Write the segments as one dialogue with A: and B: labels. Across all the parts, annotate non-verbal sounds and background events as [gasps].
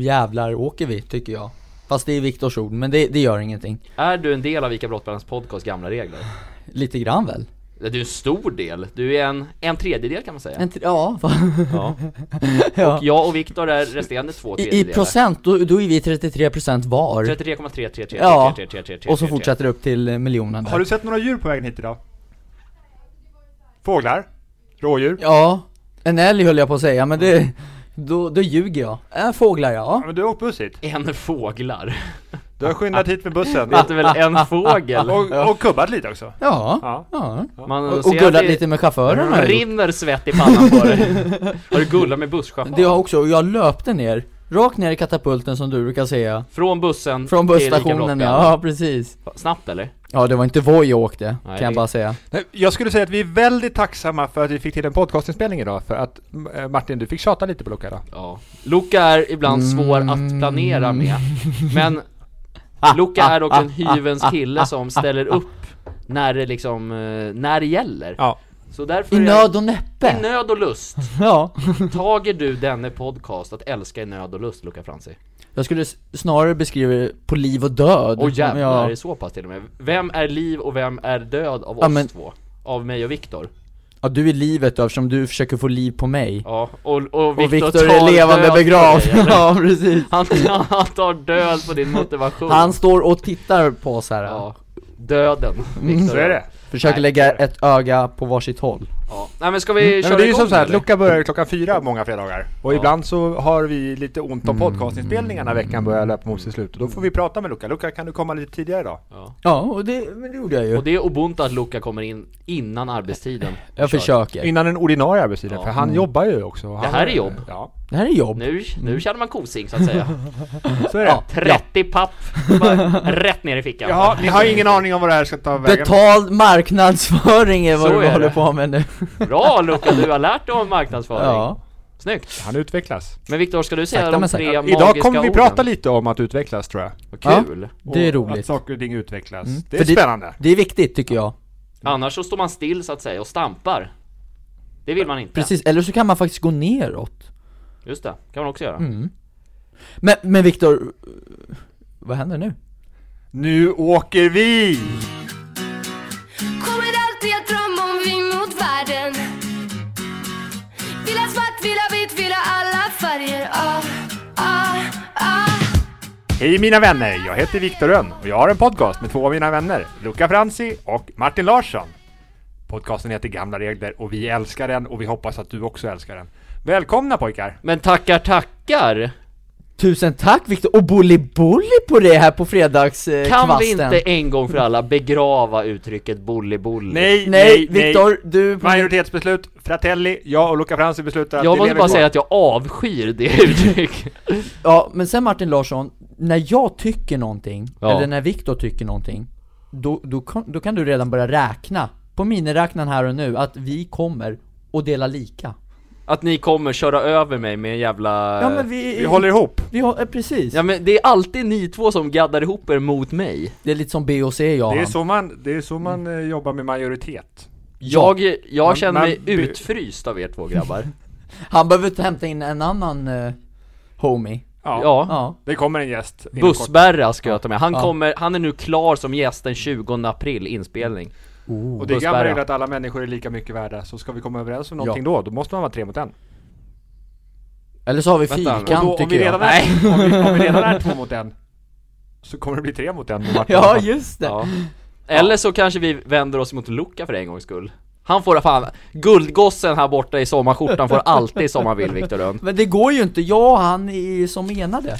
A: jävlar åker vi, tycker jag. Fast det är Viktors ord, men det, det gör ingenting.
B: Är du en del av Vika Brottblandens podcast gamla regler?
A: Lite grann väl?
B: Du är en stor del, du är en, en tredjedel kan man säga.
A: En tr- ja, va?
B: Ja.
A: [laughs] ja.
B: Och jag och Viktor är resterande två
A: I, I
B: tredjedelar.
A: procent, då, då är vi 33% var.
B: 33,333333333.
A: Ja, och så fortsätter det upp till eh, miljonen där.
C: Har du sett några djur på vägen hit idag? Fåglar? Rådjur?
A: Ja, en älg höll jag på att säga, men det, då, då ljuger jag. Äh, fåglar
C: Ja,
A: ja.
C: men du har åkt buss hit.
B: En fåglar.
C: Du har skyndat hit med bussen.
B: Det heter väl en fågel?
C: Och, och kubbat lite också.
A: Ja,
C: Ja.
A: ja.
B: Man
A: Och,
B: ser
A: och
B: att
A: gullat
B: det
A: lite med chauffören har jag gjort.
B: Rinner svett i pannan på dig. Har du gullat med busschauffören?
A: Det har jag också, och jag löpte ner. Rakt ner i katapulten som du brukar säga.
B: Från bussen
A: Från
B: till Ica
A: busstationen,
B: Brottbjörn.
A: ja precis.
B: Snabbt eller?
A: Ja, det var inte Voi jag åkte,
B: Nej,
A: kan jag
B: det-
A: bara säga.
C: Nej, Jag skulle säga att vi är väldigt tacksamma för att vi fick till en podcastinspelning idag, för att eh, Martin, du fick tjata lite på Luca idag.
B: Ja. Luca är ibland svår
A: Mm.
B: att planera med,
A: [laughs]
B: men Luca är dock en hyvens kille som ställer upp när det liksom, eh, när det gäller.
C: Ja.
B: Så därför
A: I
B: är-
A: nöd och
B: I
A: näppe!
B: nöd och lust.
A: Ja.
B: Tager du denne podcast att älska i nöd och lust, Luca Franzi?
A: Jag skulle s- snarare beskriva det på liv och död.
B: Och jävlar,
A: Ja.
B: är det så pass till och med? Vem är liv och vem är död av oss
A: Ja, men-
B: två? Av mig och Viktor?
A: Ja, du är livet då, eftersom du försöker få liv på mig.
B: Ja, och, och
A: och
B: Viktor
A: Viktor
B: tar
A: är levande
B: död på
A: begravd.
B: dig,
A: [laughs]
B: eller?
A: ja, precis.
B: han, [laughs] han tar död på din motivation
A: Han står och tittar på oss här.
B: Ja, döden
A: Mm.
B: Viktor.
C: Så är det.
A: Försöker
B: Nej.
A: lägga ett öga på varsitt håll.
B: Ja. Nej men ska vi
C: Mm. Nej,
B: köra
C: men det är ju
B: igång
C: som så här att
B: eller?
C: Luca börjar klockan fyra många fredagar. Och
B: Ja.
C: ibland så har vi lite ont om podcastinspelningarna veckan börjar löpa mot sitt slut. Och då får vi prata med Luca. Luca, kan du komma lite tidigare idag?
B: ja.
A: Ja, och det, men det gjorde jag ju.
B: Och det är ubuntu att Luca kommer in innan
C: [laughs]
B: arbetstiden
A: jag
B: Kör.
A: försöker.
C: Innan den ordinarie arbetstiden,
B: Ja.
C: för han jobbar ju också. Han,
B: här är jobb.
C: Ja,
A: Det här är jobb.
B: Nu,
C: Mm.
B: nu känner man kosing så att
C: [laughs]
B: säga
C: så är det.
A: Ja.
B: 30 papp, bara rätt ner i fickan
C: Jaha, ni har ingen aning om vad det här ska ta vägen.
A: Betald marknadsföring är vad
B: Så
A: du
B: är
A: håller
B: det.
A: på med nu.
B: Bra Luca, du har lärt dig om marknadsföring
A: Ja.
B: Snyggt!
C: Han utvecklas.
B: Men Viktor, ska du säga
A: Sakta
B: de
A: men
B: tre
A: säkert.
B: magiska
C: Idag kommer vi
B: orden?
C: prata lite om att utvecklas tror jag.
B: Vad
A: Ja.
B: kul!
A: Det är
C: Och
A: roligt.
C: Att saker och ting utvecklas.
A: Mm.
C: Det är
A: För det-
C: spännande.
A: Det är viktigt tycker jag.
B: Annars så står man still så att säga och stampar Det vill man inte,
A: Precis, eller så kan man faktiskt gå neråt.
B: just det, kan man också göra
A: Mm. Men, men Viktor, vad händer nu?
C: Nu åker vi!
D: Kommer alltid att drömma om vi mot världen Vill ha svart, vill ha vitt, vill ha alla färger ah, ah, ah.
C: Hej mina vänner, jag heter Viktor Rönn och jag har en podcast med två av mina vänner, Luca Franzi och Martin Larsson. Podcasten heter Gamla Regler och vi älskar den och vi hoppas att du också älskar den. Välkomna pojkar!
B: Men tackar tackar!
A: Tusen tack Viktor, och bolly-bolly på det här på eh, fredagskvasten.
B: Kan vi inte en gång för alla begrava uttrycket bully bully?
C: Nej,
A: Nej, Viktor, du...
C: Majoritetsbeslut, Fratelli, jag och Luca Franzi beslutar att
B: Jag
C: det
B: måste
C: lever
B: bara
C: kvar.
B: säga att jag avskyr det uttrycket
A: Ja, men sen Martin Larsson, när jag tycker någonting,
B: Ja.
A: eller när Viktor tycker någonting, då, då, kan- då kan du redan börja räkna, på miniräknaren här och nu, att vi kommer och dela lika.
B: [laughs] Att ni kommer köra över mig med en jävla...
A: Ja men vi...
C: Vi håller ihop.
A: vi har, eh, precis.
B: Ja, men det är alltid ni två som gaddar ihop er mot mig
A: Det är lite som B och C jag
C: Det är
A: han. Mm.
C: så man, det är så man eh, jobbar med majoritet.
A: Ja.
B: Jag, jag
C: Men-
B: känner
C: men-
B: mig utfryst av er två grabbar
A: Han behöver inte hämta in en annan eh, homie.
C: Ja.
B: [laughs] Ja,
A: Ja.
C: Det kommer en gäst. inom kort.
B: Bussberra ska jag ta med, han
A: Ja.
B: kommer, han är nu klar som gäst den 20 april, inspelning
C: Och det är
B: Bussberra.
C: gamla regler att alla människor är lika mycket värda, så ska vi komma överens om någonting då, då måste man vara tre mot en.
A: Eller så har vi
B: Vänta,
A: fyrkant
C: Och då, om,
A: tycker
C: vi
A: jag.
C: redan är, om, vi, om vi
A: [laughs]
C: redan är två mot en, så kommer det bli tre mot en med Martin.
A: Ja just det.
B: [gasps] ja. Eller så kanske vi vänder oss mot Luca för en gångs skull Han får fan, guldgossen här borta i sommarskjortan [laughs] får alltid som han vill Viktor Rönn
A: Men det går ju inte, jag och han är som enade.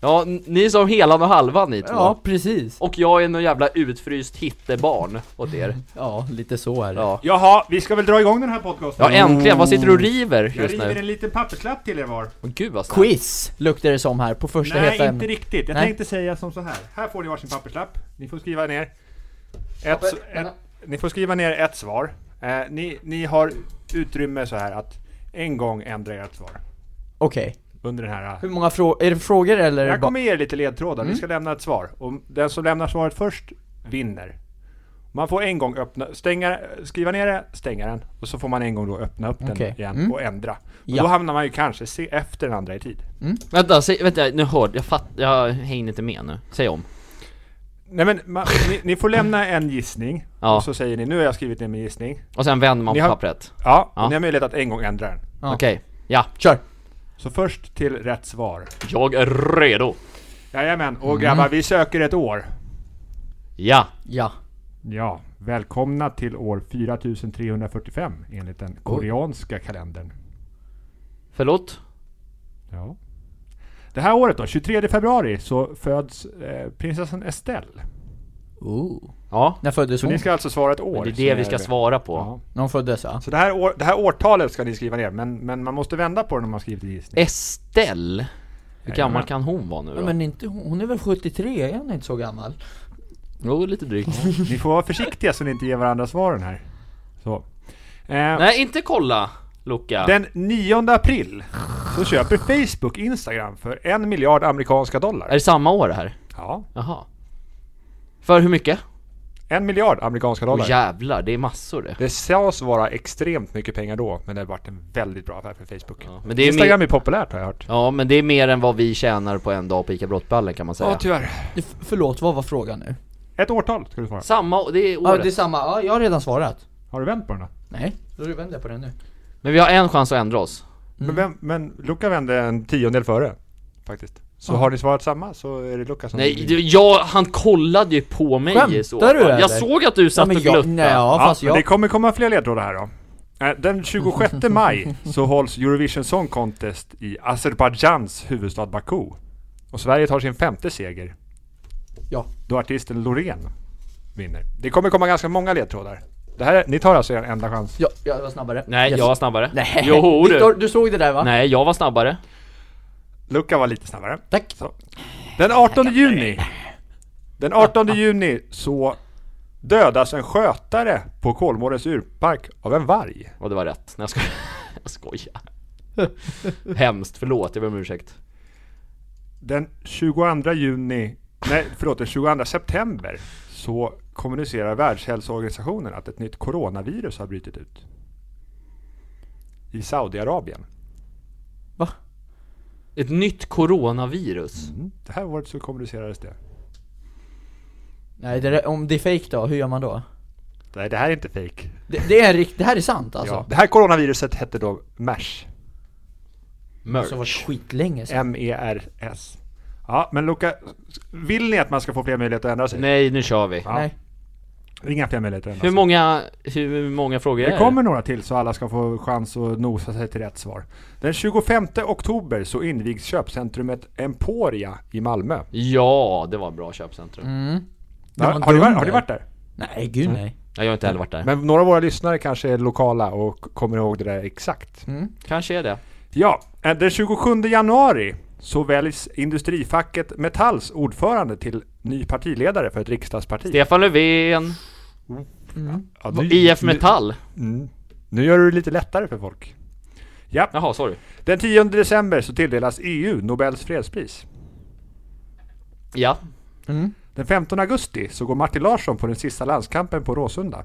B: Ja, n- ni är som helan och halvan ni två
A: Ja precis.
B: Och jag är någon jävla utfryst hittebarn åt er
C: Mm.
A: Ja, lite så är det.
B: Ja,
C: Jaha, vi ska väl dra igång den här podcasten?
B: ja äntligen, vad sitter du och river
C: Mm. Jag
B: just
C: river
B: nu?
C: en liten papperslapp till er var.
B: Åh, Gud vad snabbt.
A: Quiz luktar det som här på första
C: Nej,
A: heta
C: inte
A: ämnet.
C: riktigt. Jag
A: Nej.
C: tänkte säga som så här. Här får ni varsin papperslapp. Ni får skriva ner ett, s- ett, ni får skriva ner ett svar. Eh, ni, ni har utrymme så här att en gång ändra ert svar.
A: Okej.
C: Under den här...
A: Hur många frågor, är det frågor eller? är det
C: Jag
A: bara-
C: kommer ge er lite ledtrådar, ni ska lämna ett svar. Och den som lämnar svaret först vinner. Man får en gång öppna, stänga, skriva ner det, stänga den och så får man en gång då öppna upp den
A: Okej.
C: igen
A: Mm.
C: och ändra. Och
A: Ja.
C: Då hamnar man ju kanske se efter den andra i tid.
B: Vänta, säg, vänta, nu hörde jag, fatt, jag hängde inte med nu. Säg om.
C: Nej men man, ni, ni får lämna en gissning
B: Ja.
C: och så säger ni nu har jag skrivit ner min gissning.
B: Och sen vänder man
C: Ni
B: på
C: har-
B: pappret.
C: Ja,
B: Ja.
C: Och ni har möjlighet att en gång ändra den.
A: Ja.
B: Okej, ja.
A: Kör!
C: Så först till rätt svar.
B: Jag är redo.
C: Jajamän,
B: Mm.
C: och grabbar vi söker ett år.
B: Ja.
A: Ja.
C: Ja, välkomna till år 4345 enligt den koreanska kalendern.
B: Förlåt?
C: Ja. Det här året då, 23 februari, så föds eh, prinsessan Estelle.
A: Ooh.
B: Ja.
A: När föddes
C: Så
A: hon?
C: ni ska alltså svara ett år.
B: Det är
C: som
B: det vi ska svara på.
C: Ja.
A: När hon föddes va?
C: Så det här, år, det här årtalet ska ni skriva ner, men, men man måste vända på det när man skriver till gissning.
B: Estelle? Hur gammal
C: Jajamän.
B: kan hon vara nu då?
A: Ja, men inte, hon hon är väl 73, är hon inte så gammal?
B: Jo, lite drygt.
C: Ni får vara försiktiga så ni inte ger varandra svaren här. Så. Eh,
B: [laughs] Nej, inte kolla, Luca.
C: Den 9 april så köper Facebook Instagram för en miljard amerikanska
B: Är
C: dollar.
B: det samma år det här?
C: Ja,
B: Jaha. För hur mycket?
C: en miljard amerikanska
B: Åh
C: dollar.
B: jävlar, det är massor det.
C: Det sades vara extremt mycket pengar då, men det har varit en väldigt bra affär för Facebook.
B: Ja, men det är
C: Instagram är populärt har jag hört.
B: Ja, men det är mer än vad vi tjänar på en dag på ICA Brottballen kan man säga.
C: Ja, tyvärr.
A: Du, f- förlåt, vad var frågan nu?
C: Ett årtal ska du svara.
B: samma, det är
A: Ja,
B: året.
A: det är samma. Ja, jag har redan svarat.
C: Har du vänt på den då?
A: Nej, då vänder jag på den nu.
B: Men vi har en chans att ändra oss.
C: Men, vem, men Luca vände en tiondel före, faktiskt. Så har ni svarat samma så är det Luca som...
B: Nej, du, jag, han kollade ju på mig
A: Mm. Skämtar
B: i så fall.
A: du, eller?
B: Jag såg att du satt och
A: jag,
B: gluttade.
A: nej, ja,
C: Ja,
A: fast
C: men
A: jag...
C: Det kommer komma fler ledtrådar här då. Eh, Den 26
A: [laughs]
C: maj så hålls Eurovision Song Contest i Azerbajdzjans huvudstad Baku. Och Sverige tar sin femte seger.
A: Ja.
C: Då artisten Loreen vinner. Det kommer komma ganska många ledtrådar. Det här, ni tar alltså er enda chans.
A: Ja, jag var snabbare.
B: Nej,
A: Yes.
B: jag var snabbare.
A: Nej,
B: Jo,
A: Viktor,
B: du.
A: du såg det där va?
B: Nej, jag var snabbare.
C: Luca var lite snabbare.
A: Tack.
C: Så. Den 18 juni. Den 18 juni så dödas en skötare på Kolmårdens djurpark av en varg.
B: Och det var rätt. Nej, jag skojar. [laughs] Jag
A: [laughs]
B: skojar. Hemskt, förlåt, jag ber om ursäkt.
C: Den 22 juni, nej förlåt, den 22 september så kommunicerar Världshälsoorganisationen att ett nytt coronavirus har brutit ut. I Saudiarabien.
A: Va?
B: Ett nytt coronavirus.
A: Mm.
C: Mm, Det här året så kommunicerades det.
A: Nej, det där, om det är fake då, hur gör man då?
C: Nej, det här är inte fejk.
A: Det, det är rikt, det här är sant alltså.
C: Ja, det här coronaviruset hette då MERS.
B: Merch.
A: Som var skitlänge sedan.
C: E M-E-R-S. Ja, men Luca, vill ni att man ska få fler möjligheter att ändra sig?
B: Nej, nu kör vi.
C: Ja.
A: Nej.
C: Inga fler möjligheter att ändra
B: Hur
A: alltså.
C: sig.
B: många, hur många frågor är
C: Det kommer några till så alla ska få chans att nosa sig till rätt svar. Den 25 oktober så invigs köpcentrumet Emporia i Malmö.
B: Ja, det var ett bra köpcentrum.
A: Mm.
C: Har,
A: var
C: har, du, varit-
A: dunder.
C: har du varit där?
A: Nej, gud
C: Mm.
A: nej.
B: Nej, jag har inte heller varit där.
C: Men några av våra lyssnare kanske är lokala och kommer ihåg det där exakt.
B: Kanske är det.
C: Ja, eh, den 27 januari så väljs industrifacket Metalls ordförande till ny partiledare för ett riksdagsparti.
B: Stefan Löfven,
C: Ja, nu-
B: IF Metall.
C: Nu, mm, nu gör du det lite lättare för folk. Ja,
B: Jaha, sorry.
C: den 10 december så tilldelas EU Nobels fredspris.
B: Ja.
C: Den 15 augusti så går Martin Larsson på den sista landskampen på Råsunda.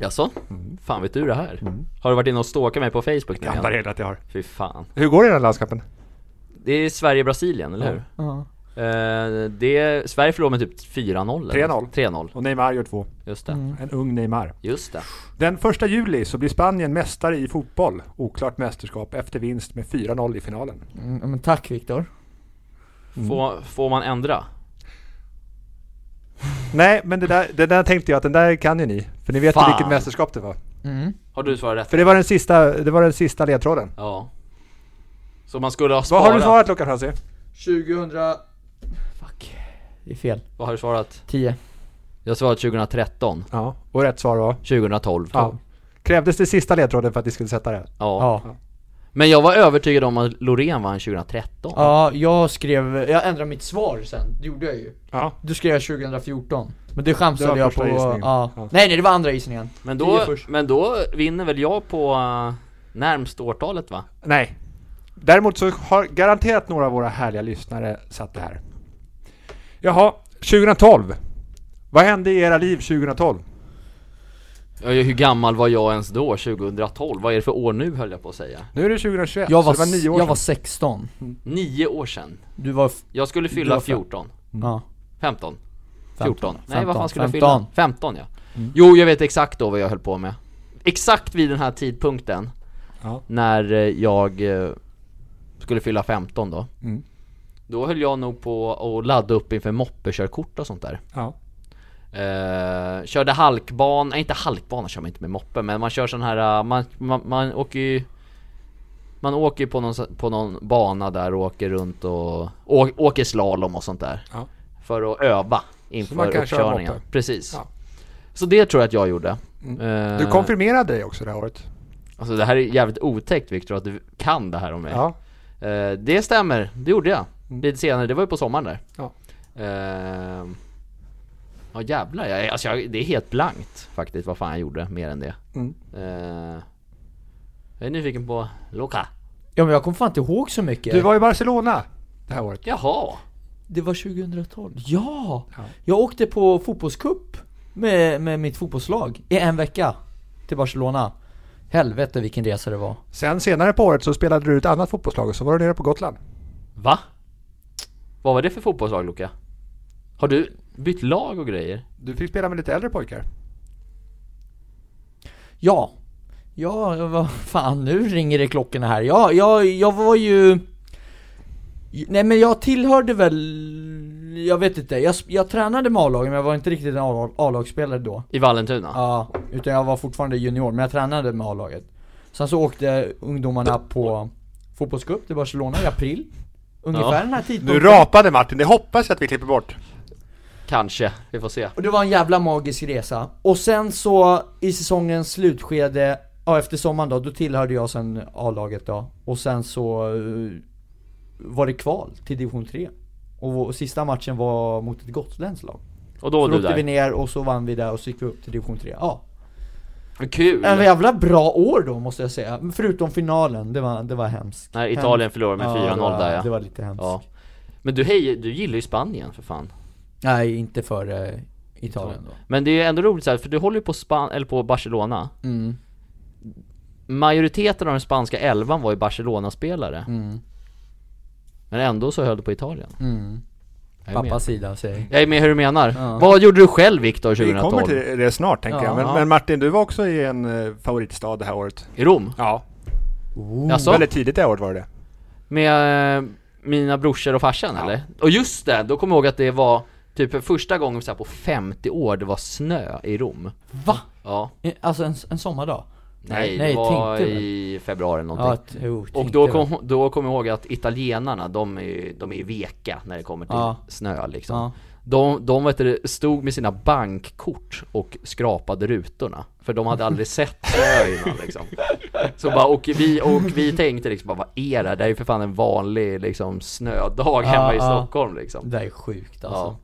B: Jaså? Fan vet du det här? Har du varit inne och stalkat mig på Facebook nu
C: Gamla
B: igen?
C: regler att Mm. jag har.
B: Fy fan.
C: Hur går det i den här landskampen?
B: Det är Sverige-Brasilien, eller hur?
A: Ja.
B: Eh, det är, Sverige förlorade med typ 4-0 eller
C: 3-0.
B: 3-0,
C: Och Neymar gör två.
B: just det.
C: En ung Neymar.
B: Just det.
C: Den 1 juli så blir Spanien mästare i fotboll. Oklart mästerskap efter vinst med 4-0 i finalen.
A: Mm, ja, men tack Viktor.
C: Mm.
B: Får, får man ändra?
C: Nej, men det där, det där tänkte jag att den där kan ju ni. För ni vet ju
B: Fan.
C: vilket mästerskap det var.
A: Mm.
B: Har du svarat rätt?
C: För det var den sista, det var den sista ledtråden.
B: Ja. Så man skulle ha
C: Vad
B: sparat...
C: har du svarat Lukas Hansi?
A: 2000... Fuck. Det är fel.
B: Vad har du svarat?
A: 10.
B: Jag svarade 2013,
C: Ja, och rätt svar var?
B: 2012.
C: Ja. Krävdes det sista ledtråden för att ni skulle sätta det?
B: Ja.
A: Ja.
B: Men jag var övertygad om att Loreen vann 2013.
A: Ja, jag skrev, jag ändrade mitt svar sen. Det gjorde jag ju.
C: Ja.
A: Du skrev jag 2014. Men det chansade
C: Det var
A: jag
C: första
A: på.
C: gissningen.
A: Ja.
C: Ja.
A: Nej, nej det var andra gissningen.
B: Men
A: Tio
B: då,
A: först.
B: men då vinner väl jag på uh, närmst årtalet va?
C: Nej. Däremot så har garanterat några av våra härliga lyssnare satt det här. Jaha, 2012 Vad hände i era liv 2012?
B: Ja, hur gammal var jag ens då, 2012? Vad är det för år nu höll jag på att säga?
C: Nu är det 2021,
A: Jag
C: så
A: var,
C: det var nio år
A: jag var
C: sedan.
A: 16
B: Nio år sedan
A: Du var, f-
B: Jag skulle
A: Du
B: fylla
A: var fem.
B: 14
C: Mm.
A: ja
B: 15
A: 15.
B: 14 Nej vad fan skulle jag
A: 15.
B: fylla? 15 ja Jo jag vet exakt då vad jag höll på med Exakt vid den här tidpunkten
C: Ja.
B: När eh, jag eh, skulle fylla 15 då
C: Mm.
B: Då höll jag nog på att ladda upp inför moppekörkort och sånt där
C: Ja.
B: Eh, körde halkbana, nej inte halkbana kör man inte med moppe men man kör sån här, eh, man, man, man åker ju Man åker ju på någon, så- på någon bana där och åker runt och å, åker slalom och sånt där
C: Ja.
B: För att öva
C: man
B: inför
C: kan köra
B: uppkörningen,
C: moppe.
B: precis
C: Ja. Mm.
B: Så det tror jag att jag gjorde Eh,
C: Du konfirmerade dig också det här året.
B: Alltså det här är jävligt otäckt Viktor att du kan det här om mig
C: Ja.
B: Eh, Det stämmer, det gjorde jag.
A: Mm.
B: Lite senare, det var ju på sommaren där.
C: Ja.
B: Eh, ja jävlar, jag, alltså jag, det är helt blankt faktiskt vad fan jag gjorde mer än det.
C: Mm.
B: Eh, jag är nyfiken på Loka.
A: Ja men jag kommer fan inte ihåg så mycket
C: Du var i Barcelona det här året.
B: Jaha!
A: Det var 2012 ja! Jag åkte på fotbollscup med, med mitt fotbollslag i en vecka Till Barcelona Helvete vilken resa det var
C: Sen senare på året så spelade du i ett annat fotbollslag och så var du nere på Gotland.
B: Va? Vad var det för fotbollslag Loka? Har du bytt lag och grejer?
C: Du fick spela med lite äldre pojkar.
A: Ja. Ja, vad fan, nu ringer det klockorna här. Ja, jag, jag var ju... Nej men jag tillhörde väl... Jag vet inte, jag, jag tränade med A-laget men jag var inte riktigt en A- A-lagsspelare då.
B: I Vallentuna?
A: Ja, utan jag var fortfarande junior, men jag tränade med A-laget. Sen så åkte ungdomarna på fotbollscup till Barcelona i april. Ungefär
B: Ja.
A: den här
C: Nu
A: tidpunkten.
C: rapade Martin, det hoppas jag att vi klipper bort.
B: Kanske, vi får se.
A: Och det var en jävla magisk resa. Och sen så i säsongens slutskede, ja efter sommaren då, då tillhörde jag sen A-laget då. Och sen så eh, var det kval till division 3. Och vår, sista matchen var mot ett gotländskt lag.
B: Och då var
A: Så
B: du
A: åkte vi
B: där.
A: ner och så vann vi där och så gick vi upp till division 3. Ja.
B: Kul!
A: En jävla bra år då måste jag säga. Förutom finalen, det var, det var hemskt.
B: När Italien
A: Hemskt.
B: förlorade med
A: Ja,
B: 4-0
A: det var-
B: där ja.
A: Det var lite hemskt.
B: ja. Men du, hej, du gillar ju Spanien för fan.
A: Nej, inte för eh, Italien då.
B: Men det är ändå roligt så här, för du håller ju på Span- eller på Barcelona
A: Mm.
B: Majoriteten av den spanska elvan var ju Barcelona-spelare
A: Mm.
B: Men ändå så höll du på Italien jag, är med.
A: Mm. Pappas sida säger
B: jag är med hur du menar.
A: Ja.
B: Vad gjorde du själv Viktor
C: Vi
B: 2012?
C: kommer till det snart tänker
A: Ja.
C: jag. Men,
B: Ja.
C: men Martin, du var också i en eh, favoritstad det här året.
B: I Rom?
C: Ja.
A: Oh.
B: Jaså?
C: Väldigt tidigt det här året var det
B: Med eh, mina brorsor och farsan eller? Och just det, då kommer jag ihåg att det var typ för första gången så här, på 50 år det var snö i Rom
A: Va?
B: Ja,
A: Eh, Alltså en, en sommardag?
B: nej,
A: Nej,
B: det var
A: tänkte väl.
B: i februari någonting
A: Ja, t- jo,
B: Och
A: tänkte
B: då
A: jag.
B: kom, då kom jag ihåg att italienarna, de är ju, de är ju veka när det kommer till
A: Ja.
B: snö liksom.
A: Ja.
B: De, de vet du, stod med sina bankkort och skrapade rutorna. För de hade aldrig sett snö innan liksom. Så bara, och vi, och vi tänkte liksom bara, vad är det här? Det här är ju för fan en vanlig liksom, snödag hemma i
A: ja.
B: Stockholm liksom.
A: Det där är sjukt alltså.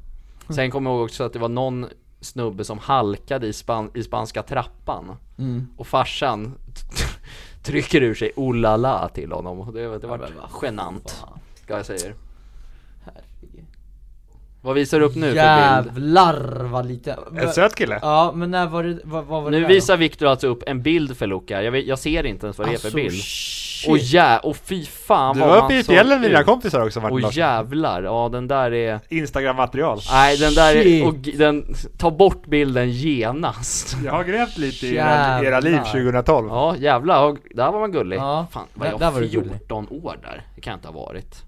B: Ja. Sen kommer jag ihåg också att det var någon snubbe som halkade i, span, i spanska trappan.
A: Mm.
B: Och farsan [laughs] t- trycker ur sig oh la la till honom. Och Det, det var genant, ska jag säga er. Vad visar du upp nu för bild?
A: Jävlar vad lite.
C: En söt kille.
A: Ja, men när var det, vad, vad var det
B: Nu
A: där
B: visar Viktor alltså upp en bild för Luca. Jag, vet, jag ser inte ens vad
A: då?
B: det är för
A: Alltså,
B: bild.
A: shit.
B: Och ja, och fy fan
C: Du
B: vad
C: var
B: man
C: uppe i
B: såg
C: fjällen alltså. med
B: ut.
C: dina kompisar också Martin
B: Och
C: Larsson.
B: jävlar, ja den där är...
C: Instagram-material.
B: Nej den där
A: Shit.
B: är... Och g- den... Ta bort bilden genast.
C: Jag har grävt lite i era, era liv
A: Jävlar.
C: 2012.
B: Ja jävlar, och där var man gullig.
A: Ja,
B: Fan, var
A: där-
B: jag
A: där var du gullig.
B: 14 år där? Det kan jag inte ha varit.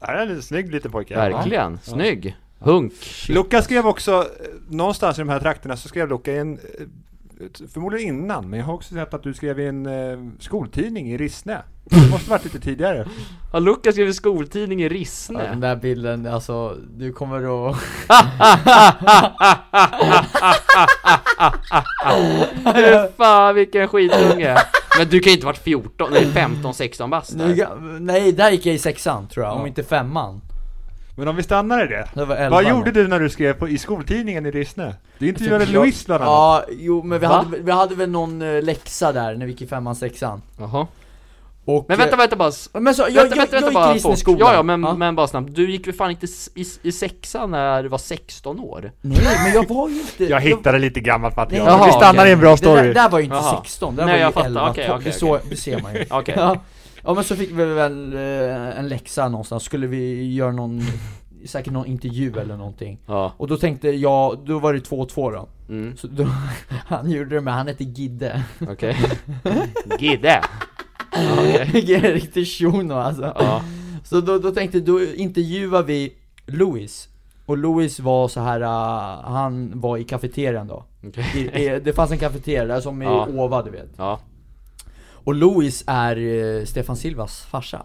C: Det här är en lite snygg liten pojke.
B: Verkligen, snygg. Hunk.
C: Luca skrev också, eh, någonstans i de här trakterna så skrev Luca i en, eh, t- förmodligen innan, men jag har också sett att du skrev i en eh, skoltidning i Rissne. Det måste varit lite tidigare.
B: Har Lukas skrivit skoltidning i
A: Ja,
B: Rissne?
A: den där bilden, alltså du kommer att...
B: Fy [laughs] fan vilken skitunge! Men du kan ju inte varit 14, nej 15, 16 bast
A: Nu,
B: där.
A: ga- nej, där gick jag i sexan tror jag, om inte femman.
C: Men om vi stannar i det.
A: Det var elvan,
C: Vad gjorde
A: ja.
C: du när du skrev på, i skoltidningen i Rissne? Du intervjuade Louise bland annat.
A: Ja, jo men vi
B: Va?
A: hade, vi hade väl någon eh, läxa där när vi gick i femman, sexan.
B: Jaha.
A: Och,
B: Men vänta, vänta bara. s-
A: Men så, jag, jag,
B: vänta, vänta,
A: jag,
B: vänta
A: gick
B: bara.
A: i
B: på-
A: Rissneskolan.
B: Ja, ja, men, men bara snabbt. Du gick väl fan inte s- i, i sexan när du var 16 år?
A: Nej, men jag var ju
B: [laughs]
A: inte...
C: Jag hittade lite gammalt material.
A: Jaha,
C: vi stannar
B: okej.
C: i en bra
A: Det där,
C: story.
A: där var ju inte
B: Jaha.
A: 16, där
B: Nej,
A: var ju
B: jag fattar.
A: 11,
B: Okej,
A: 12,
B: okej,
A: det, så, det ser man ju
B: [laughs] Okej.
A: ja. ja men så fick vi väl eh, en läxa någonstans, skulle vi göra någon, säkert någon intervju eller någonting
B: Ja.
A: Och då tänkte jag, då var det 2-2 då,
B: Mm,
A: så då, [laughs] han gjorde det men han hette Gidde [laughs]
B: okej. Gidde. Okej.
A: Riktig shuno alltså
B: Ja.
A: Så då, då tänkte jag, då intervjuar vi Louis Och Louis var så här, eh, han var i kafeterian då
B: Okej.
A: I, i, Det fanns en kafeteria där som är
B: Ja.
A: Ova du vet
B: Ja.
A: Och Louis är eh, Stefan Silvas farsa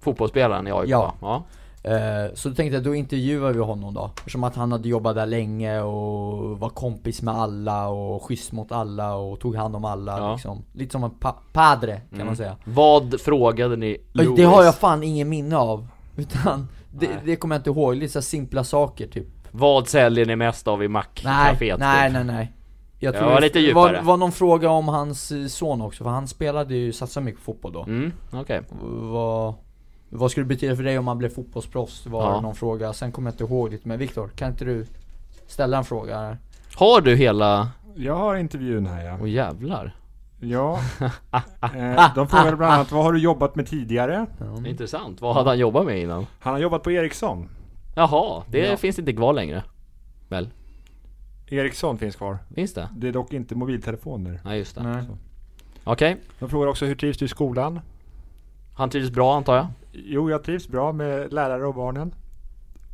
B: Fotbollsspelaren i AIK.
A: Ja.
B: ja.
A: Eh, Så då tänkte jag, då intervjuar vi honom då. Eftersom att han hade jobbat där länge och var kompis med alla och schysst mot alla och tog hand om alla
B: Ja.
A: liksom. Lite som en pa- padre kan man säga.
B: Vad frågade ni Louis?
A: Alltså, Det har jag fan ingen minne av. Utan det,
B: Nej.
A: det kommer jag inte ihåg, lite så här simpla saker typ.
B: Vad säljer ni mest av i typ?
A: Nej,
B: Mac-caféet?
A: nej, nej, nej. Jag
B: Det var lite
A: det
B: djupare.
A: var, var någon fråga om hans eh, son också, för han spelade ju, satsade mycket på fotboll då.
B: Mm, okej.
A: Vad, vad skulle det betyda för dig om man blev fotbollsproffs? Var
B: Ja.
A: det någon fråga, sen kommer jag inte ihåg lite men Viktor, kan inte du ställa en fråga här?
B: Har du hela...
C: Jag har intervjun här ja.
B: Åh jävlar.
C: Ja. [laughs] Eh, De frågade bland annat, vad har du jobbat med tidigare?
B: Mm. Intressant. Vad hade han jobbat med innan?
C: Han har jobbat på Ericsson.
B: Jaha, det
C: Ja.
B: finns inte kvar längre. Väl?
C: Ericsson finns kvar.
B: Finns det?
C: Det är dock inte mobiltelefoner.
B: Nej, just det.
A: Nej.
B: Okej.
C: De frågar också, hur trivs du i skolan?
B: Han trivs bra antar jag?
C: Jo, jag trivs bra med lärare och barnen.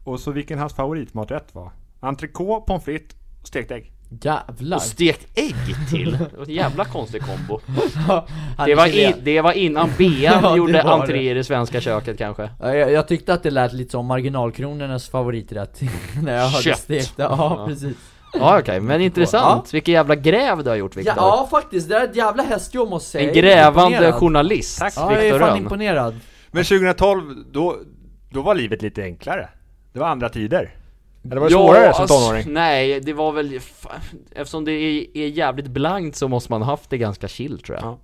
C: Och så vilken hans favoritmaträtt var? Entrecote, pommes frites, stekt ägg.
A: Jävlar! [laughs]
B: Och stekt ägg till! [laughs] Det var en jävla konstig kombo.
A: Han
B: Det var,
A: är
B: i, det
A: [laughs]
B: var innan Bea
A: Ja, det
B: gjorde
A: var
B: entré i det svenska köket kanske.
A: Ja, jag, jag tyckte att det lät lite som marginalkronornas favoriträtt [laughs] när jag hörde
B: Kött.
A: stekta, ja,
B: Ja.
A: precis
B: Ja okej, men intressant. Vilken jävla gräv du har gjort
A: ja,
B: Viktor.
A: ja faktiskt, det är ett jävla hästjobb måste jag
B: en
A: säga
B: grävande
A: Jag är imponerad.
B: journalist.
C: Tack.
A: Ja jag är
B: Viktor
A: fan
B: Rönn.
A: imponerad
C: Men 2012, då, då var livet lite enklare. Det var andra tider. Eller var det
B: Ja, alltså,
C: svårare som
B: ass-
C: tonåring?
B: Nej, det var väl... fa- Eftersom det är, är jävligt blankt så måste man haft det ganska chill tror jag.
C: Ja.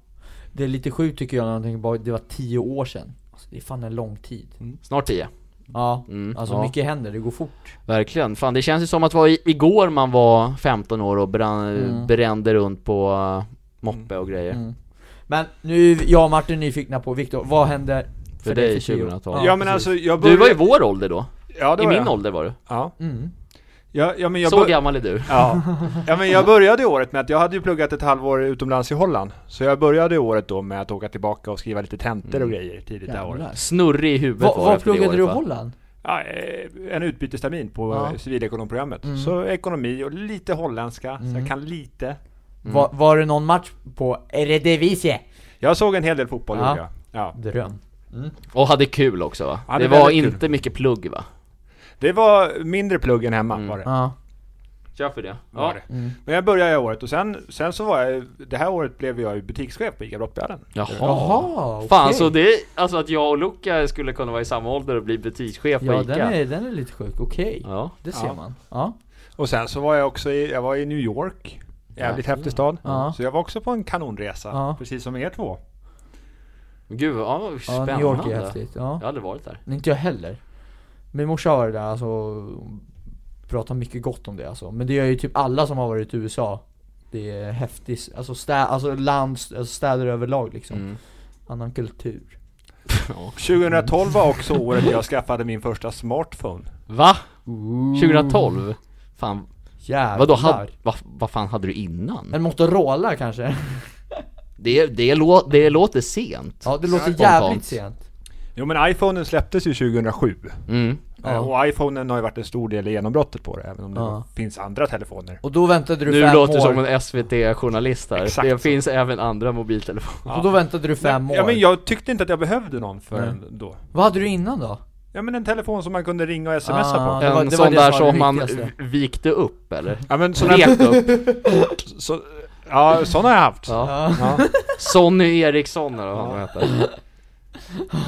A: Det är lite sjukt tycker jag när jag tänker på det var tio år sedan alltså, Det är fan en lång tid
C: Mm.
B: Snart tio.
A: Ja,
B: Mm,
A: alltså
B: ja.
A: mycket händer, det går fort
B: Verkligen. Fan, det känns ju som att det var i- igår man var 15 år och brann,
A: Mm.
B: brände runt på uh, moppe och grejer.
A: Mm. Men nu, är jag och Martin nyfikna på, Viktor, vad hände
B: För dig
A: tio år?
B: 2012?
C: Ja men
A: precis.
C: alltså jag
B: Du
C: började...
B: var i vår ålder då.
C: ja, det
B: I
C: var
B: min
C: jag.
B: ålder var du.
C: Ja.
A: Mm.
C: Ja, ja, men jag
B: Så
C: bör-
B: gammal är du.
C: Ja. ja, men jag började året med att jag hade ju pluggat ett halvår utomlands i Holland. Så jag började året då med att åka tillbaka och skriva lite tentor och grejer tidigt det här året.
A: Mm. Jävlar.
B: Snurrig i huvudet
A: Vad
B: var
A: vad
B: jag för det
A: pluggade
B: året,
A: du i
B: va?
A: Holland?
C: Ja, eh, en utbytestermin på
A: Ja.
C: eh, civilekonomprogrammet.
A: Mm.
C: Så ekonomi och lite holländska, så
A: Mm.
C: jag kan lite.
B: Mm.
A: Var, var det någon match på Eredivisie?
C: Jag såg en hel del fotboll
A: Ja.
C: gjorde jag. Ja.
A: Dröm
B: Och hade kul också va?
C: Hade
B: det var
C: väldigt kul.
B: inte mycket plugg va?
C: Det var mindre plugg än hemma
B: Mm.
C: var det.
A: Ja,
B: Kör för det.
C: Var
B: Ja.
C: det.
A: mm.
C: Men jag började det här året och sen, sen så var jag, det här året blev jag ju butikschef på ICA Brottbjörnen.
B: Jaha.
A: Jaha, okej.
B: Fan så det, alltså att jag och Luca skulle kunna vara i samma ålder och bli butikschef på
A: Ja
B: Ica.
A: den är, den är lite sjuk, okej
B: Ja.
A: Det ser
C: Ja.
A: man Ja,
C: Och sen så var jag också i, jag var i New York. Jävligt häftig stad.
A: Ja.
C: Så jag var också på en kanonresa,
A: Ja.
C: precis som er två.
B: Gud, ja, vad
A: ja
B: spännande.
A: New York är häftigt ja.
B: Jag har aldrig varit där.
A: Nej, Inte jag heller Min morsa har varit där alltså hon Pratar mycket gott om det alltså Men det gör ju typ alla som har varit i USA Det är häftigt, alltså, stä, alltså land, alltså städer överlag liksom
B: Mm.
A: Annan kultur
C: 2012 var också året jag skaffade min första smartphone.
B: Va? 2012? Fan,
A: Äh, Jävlar
B: vadå, had, vad, vad fan hade du innan?
A: En Motorola
C: [laughs]
A: kanske?
B: Det, det, lå, det låter sent.
A: Ja det låter
B: Spontant.
A: jävligt sent
C: Jo men iPhonen släpptes ju 2007.
B: Mm.
A: Ja.
C: Och iPhonen har ju varit en stor del i genombrottet på det, även om det
A: Ja.
C: finns andra telefoner.
A: Och då väntade du
B: Nu
A: fem
B: låter
A: år
B: du som en SVT-journalist här.
C: Exakt
B: det
C: så.
B: finns även andra mobiltelefoner.
A: Och då väntade du fem år?
C: Ja men jag tyckte inte att jag behövde någon förrän då.
A: Vad hade du innan då?
C: Ja men en telefon som man kunde ringa och smsa
A: Ah.
C: på.
A: det var-
B: en
A: det var
B: sån
A: det
B: där
A: som var det
B: som man
A: viktigaste.
B: vikte
A: [laughs]
B: upp eller?
C: Ja men sådana,
B: Vekt upp.
C: så, ja, sådana har jag haft.
B: Ja.
C: Ja.
B: Sonny Eriksson eller vad han heter.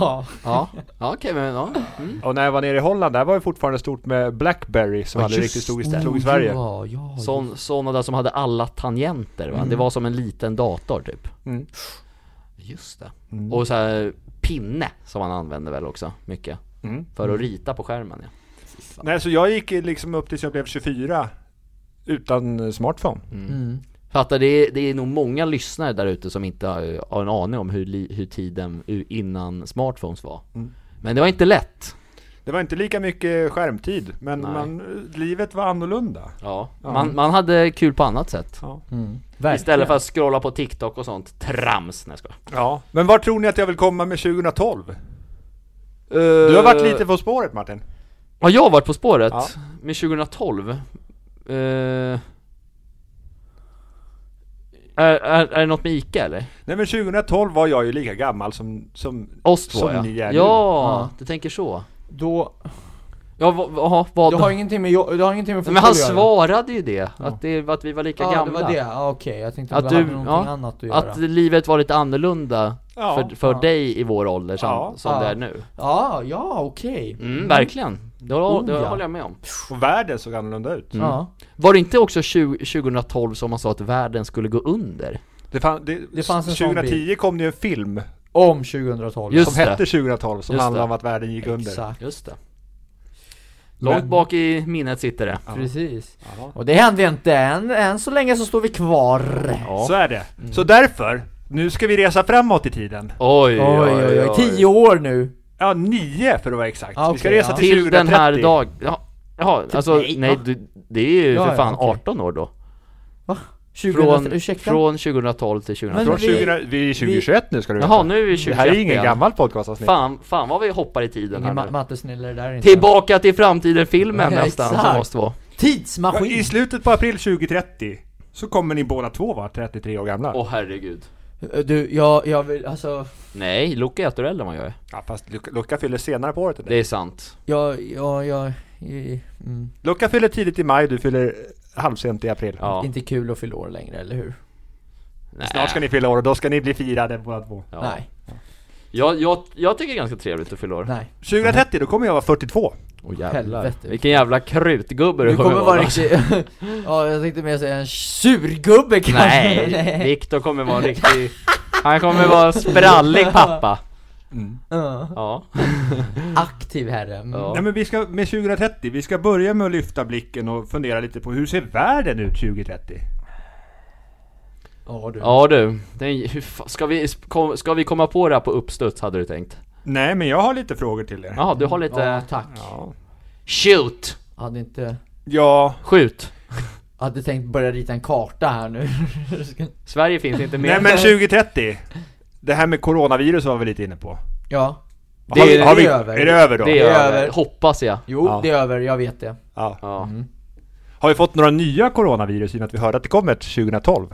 A: Ja,
B: Ja, ja okej men ja. Mm.
C: Och när jag var nere i Holland, där var det fortfarande stort med Blackberry som
B: Ja,
C: aldrig
B: just
C: riktigt stod i,
A: Oh,
C: slog i Sverige.
A: Ja, ja,
B: Sån, såna där som hade alla tangenter va? Det var som en liten dator typ.
C: Mm.
B: Just det. Och så här, pinne som han använder väl också mycket.
C: Mm.
B: För att rita på skärmen ja.
C: Nej, så jag gick liksom upp tills jag blev 24 utan smartphone.
B: Fattar, det är, det är nog många lyssnare där ute som inte har, har en aning om hur, li- hur tiden u- innan smartphones var.
C: Mm.
B: Men det var inte lätt.
C: Det var inte lika mycket skärmtid, men
B: Nej.
C: man, livet var annorlunda.
B: Ja. Man, man hade kul på annat sätt.
C: Ja.
A: Mm.
B: Istället för att scrolla på TikTok och sånt trams. Nej, jag skojar.
C: ja. Men var tror ni att jag vill komma med 2012? Du har
B: Eh.
C: varit lite på spåret Martin.
B: Har jag varit På spåret?
C: Ja.
B: Med 2012? Eh, är, är, är det något med ICA eller?
C: Nej men 2012 var jag ju lika gammal som... som
B: Oss två
C: Som
B: ja.
C: ni
B: Ja,
C: är nu.
B: du tänker så.
A: Då,
B: Ja, vad, vad, vad
A: det har ingenting med, jo- det har ingenting med
B: Men han
A: fotboll att göra.
B: svarade ju det, att, det, att vi var lika
A: Ja det
B: gamla.
A: var det, ja, okej jag tänkte att
B: Att
A: det hade
B: du,
A: någonting
B: ja,
A: annat att göra
B: att livet var lite annorlunda
C: Ja,
B: för, för
A: ja.
B: dig i vår ålder som,
C: Ja,
B: som
A: ja.
B: det är nu.
A: Ja, ja okej
B: Mm, Verkligen, det, hå-
A: Oh,
B: det
A: ja.
B: håller jag med om.
C: Och världen såg annorlunda ut.
A: Ja,
B: Var det inte också 20, 2012 som man sa att världen skulle gå under?
C: Det, fan, det,
A: Det fanns en sån
C: 2010 kom det ju en film
A: om 2012
B: Just
C: som
B: det.
C: hette 2012 som
B: Just
C: handlade
B: det.
C: om att världen gick under.
A: Exakt,
B: Just det. Långt
A: Men-
B: bak i minnet sitter det.
A: precis
C: Ja.
A: Och det hände inte än, än så länge så står vi kvar
B: Ja.
C: Så är det. Så därför, nu ska vi resa framåt i tiden.
A: Oj
B: Oj,
A: oj oj, tio år nu!
C: Ja, nio för att vara exakt.
A: Ah,
C: vi ska
A: okej,
C: resa
A: ja.
C: till,
B: Till
C: 2030.
B: den här dag... Ja, jaha, alltså
A: nej,
B: nej,
A: va?
B: du, det är ju
A: Ja,
B: för
A: ja,
B: fan
A: okej.
B: 18 år då.
A: 2000,
B: Från,
A: ursäkta?
B: från 2012 till 2012.
C: Från
A: vi-
C: 20, vi är 2021 nu ska du veta.
B: Jaha, nu är vi 21
C: Det här är ingen
B: igen.
C: gammal podcastavsnitt.
B: Fan, fan vad vi hoppar i tiden här
A: Ingen ma-
B: nu.
A: mattesnille det där är inte
B: Tillbaka till framtiden-filmen
A: Nej,
B: nästan, som
A: exakt.
B: måste vara.
C: Ja, I
A: Tidsmaskin!
C: slutet på april 2030 så kommer ni båda två vara 33 år gamla.
B: Åh herregud.
A: Du, jag, jag vill, alltså
B: Nej, Loke är ett år äldre än vad jag är.
C: Ja, fast Luca, Luca fyller senare på året. än
B: Det
C: dig.
B: är sant.
A: Jag, jag, jag, i- mm.
C: Luca fyller tidigt i maj, du fyller halvsent i april.
B: Ja.
A: inte kul att fylla år längre, eller hur?
B: Nej.
C: Snart ska ni fylla år och då ska ni bli firade båda två.
B: Ja.
A: Nej,
B: Jag, jag, jag tycker det är ganska trevligt att fylla år.
A: nej,
C: 2030, då kommer jag vara 42.
B: Åh
A: Helvete.
B: Vilken jävla krutgubbe
A: du kommer vara
B: va?
A: riktigt, [laughs] ja jag tänkte mer säga en surgubbe kanske
B: Nej,
A: [laughs]
B: Viktor kommer vara en riktig... Han kommer vara en sprallig pappa.
A: Mm. Ja.
B: Ja.
A: Aktiv herre, Mm.
B: Ja.
C: Nej men vi ska, med 2030, vi ska börja med att lyfta blicken och fundera lite på hur ser världen ut 2030?
A: ja du
B: Ja du, den, hur fa- ska, vi, kom- ska vi komma på det här på uppstuds hade du tänkt?
C: Nej men jag har lite frågor till er.
B: Jaha, du har lite...
A: Ja, tack.
C: Ja.
B: Shoot!
A: Hade inte,
C: Ja,
B: Skjut!
A: hade tänkt börja rita en karta här nu.
B: Sverige finns inte med.
C: nej men 2030. Det här med coronavirus var vi lite inne på.
A: ja,
B: Det
C: har vi,
B: är-
C: har
A: det
C: vi,
A: är över.
C: Är det över då?
B: det är
A: det är
B: över,
A: över.
B: hoppas jag.
A: jo
C: Ja.
A: det är över, jag vet det.
C: Ja.
B: Ja.
C: Har vi fått några nya coronavirus i och med att vi hörde att det kom ett 2012?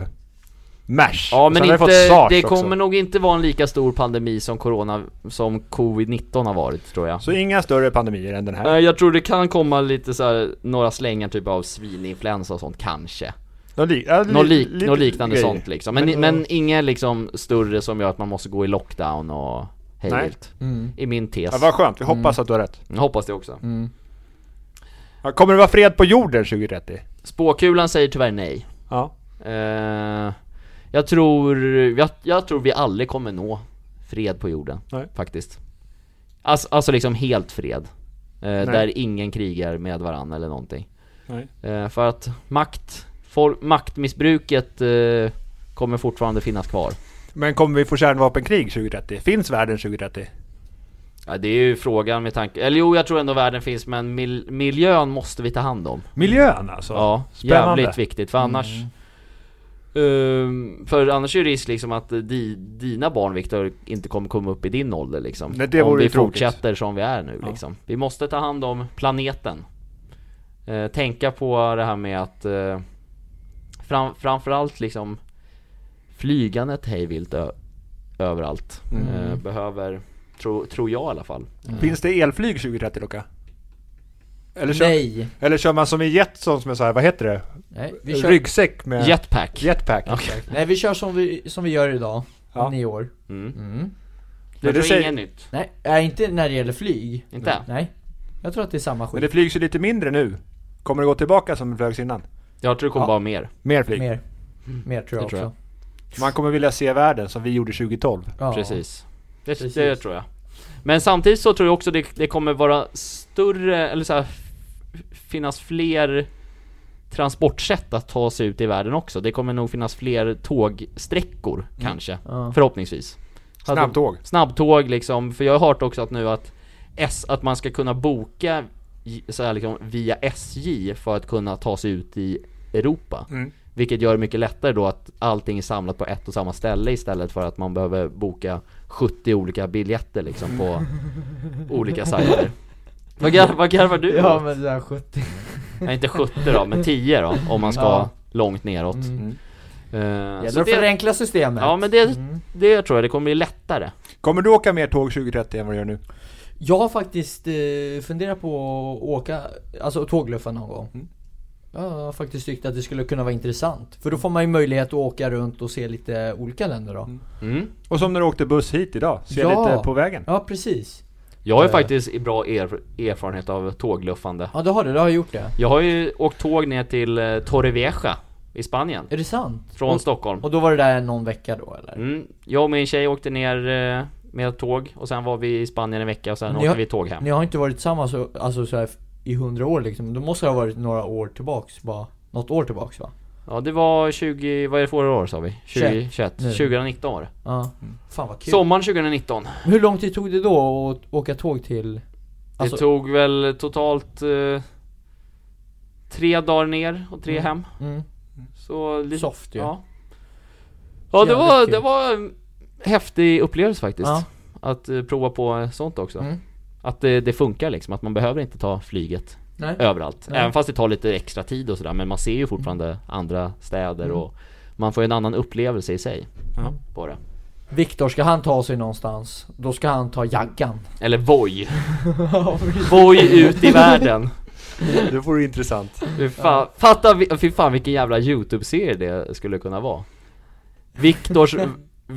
C: Mers.
B: Ja
C: Och
B: men
C: sen har vi fått
B: inte,
C: SARS
B: det
C: också.
B: kommer nog inte vara en lika stor pandemi som corona, som covid-19 har varit tror jag.
C: Så inga större pandemier än den här.
B: Nej, Eh, Jag tror det kan komma lite så här, några slängar typ av svininfluensa och sånt kanske.
C: Någon, li- ja, li-
B: Något, lik,
C: Mm. lite
B: något liknande
C: grejer.
B: sånt liksom. Men, men, inget liksom större som gör att man måste gå i lockdown och hej
C: Nej.
B: vilt. I min tes.
C: Ja, vad skönt,
B: Mm.
C: vi hoppas att du har rätt.
B: Jag hoppas det också.
A: Mm.
C: Ja, Kommer det vara fred på jorden 2030?
B: Spåkulan säger tyvärr nej.
C: Ja.
B: Eh, jag tror, jag, jag tror vi aldrig kommer nå fred på jorden,
C: Nej.
B: faktiskt. Alltså, alltså liksom helt fred. Eh, där ingen krigar med varandra eller någonting.
C: Nej.
B: Eh, för att makt, folk, maktmissbruket eh, kommer fortfarande finnas kvar.
C: Men kommer vi få kärnvapenkrig 2030? Finns världen 2030?
B: Ja, det är ju frågan med tanke, eller jo jag tror ändå världen finns men mil, miljön måste vi ta hand om.
C: Miljön alltså?
B: Ja,
C: Spännande.
B: jävligt viktigt för annars Ehm, För annars är ju risk liksom att di, dina barn Viktor inte kommer komma upp i din ålder liksom
C: Nej, det
B: Om
C: vore
B: vi
C: ju tråkigt.
B: fortsätter som vi är nu liksom Vi måste ta hand om planeten Eh, Tänka på det här med att eh, fram, Framförallt liksom Flygandet hejvilt ö- överallt
C: Mm.
B: Eh, Behöver, tro, tror jag i alla fall
C: Finns det elflyg 2030 Luca? Eller kör,
A: Nej.
C: eller kör man som i Jetson som är såhär, vad heter det?
A: Nej, vi kör,
C: Ryggsäck med
B: Jetpack!
C: jetpack?
A: nej, vi kör som, vi, som vi gör idag,
C: Ja.
A: nio år. Mm.
B: Det
C: Men det
B: Mm. tror
C: säger-
B: inget nytt,
A: Nej, äh, inte när det gäller flyg.
B: inte?
A: Nej. Jag tror att det är samma skit.
C: Men det flygs ju lite mindre nu. Kommer det gå tillbaka som det flögs innan?
B: Jag tror det kommer
A: Ja.
B: vara mer
C: Mer flyg?
A: Mer. Mer tror jag
B: Det tror
A: också.
B: jag.
C: Man kommer vilja se världen som vi gjorde 2012.
A: Ja.
B: Precis. Det,
A: Precis.
B: det tror jag. Men samtidigt så tror jag också det, det kommer vara större, eller så här, f- finnas fler transportsätt att ta sig ut i världen också. Det kommer nog finnas fler tågsträckor
A: Mm.
B: kanske,
A: Ja.
B: förhoppningsvis. Hade-
C: Snabbtåg.
B: Snabbtåg liksom, för jag har hört också att nu att S, att man ska kunna boka j- så här liksom, via SJ för att kunna ta sig ut i Europa.
C: Mm.
B: Vilket gör det mycket lättare då att allting är samlat på ett och samma ställe istället för att man behöver boka 70 olika biljetter liksom på olika sajter. Vad, gar, vad garvar du
A: Ja
B: åt?
A: men det där 70
B: Nej, inte 70 då, men 10 då om man ska
A: Ja.
B: långt neråt.
A: Mm.
B: Eh,
A: Gäller
B: så
A: att
B: det,
A: förenkla systemet Mm.
B: ja men det, det tror jag, det kommer bli lättare.
C: Kommer du åka mer tåg 2030 än vad du gör nu?
A: Jag har faktiskt eh, funderat på att åka, alltså tågluffa någon gång
C: Mm.
A: Jag har faktiskt tyckt att det skulle kunna vara intressant För då får man ju möjlighet att åka runt och se lite olika länder då
B: Mm.
C: Och som när du åkte buss hit idag, se
A: Ja.
C: lite på vägen.
A: Ja precis
B: Jag har ju
A: Eh.
B: faktiskt bra er, erfarenhet av tågluffande.
A: Ja det har du, du har gjort det
B: Jag har ju åkt tåg ner till eh, Torrevieja i Spanien,
A: Är det sant?
B: från
A: och,
B: Stockholm.
A: och då var det där någon vecka då eller?
B: Mm, jag och min tjej åkte ner eh, med tåg och sen var vi i Spanien en vecka och sen
A: Ni
B: åkte
A: har-
B: vi tåg hem.
A: Ni har inte varit tillsammans så, alltså, så här, i hundra år liksom? Då måste det ha varit några år tillbaks bara Något år tillbaks va?
B: Ja det var 20, vad är det för år sa vi? 20,
A: 21.
B: 21,
A: Nu.
B: 2019 var det.
A: Ja Fan vad Mm. kul
B: Sommaren 2019.
A: Hur lång tid tog det då att åka tåg till? Alltså-
B: det tog väl totalt eh, tre dagar ner och tre
A: Mm.
B: hem.
A: Mm.
B: Så lite,
A: Soft ju
B: ja. Ja det
A: Jävligt
B: var,
A: kul.
B: det var en häftig upplevelse faktiskt.
A: Ja.
B: Att eh, prova på sånt också.
A: Mm.
B: Att det, det funkar liksom, att man behöver inte ta flyget
A: Nej.
B: överallt.
A: Nej.
B: Även fast det tar lite extra tid och sådär, men man ser ju fortfarande andra städer
A: Mm.
B: och man får en annan upplevelse i sig.
C: Ja.
B: På det.
A: Viktor, ska han ta sig någonstans, då ska han ta jaggan.
B: Eller Voi. [laughs] Voi ut i världen.
C: Det vore intressant.
B: Fy fan, fatta, vi- fy fan vilken jävla YouTube-serie det skulle kunna vara.
A: [laughs]
B: Viktors,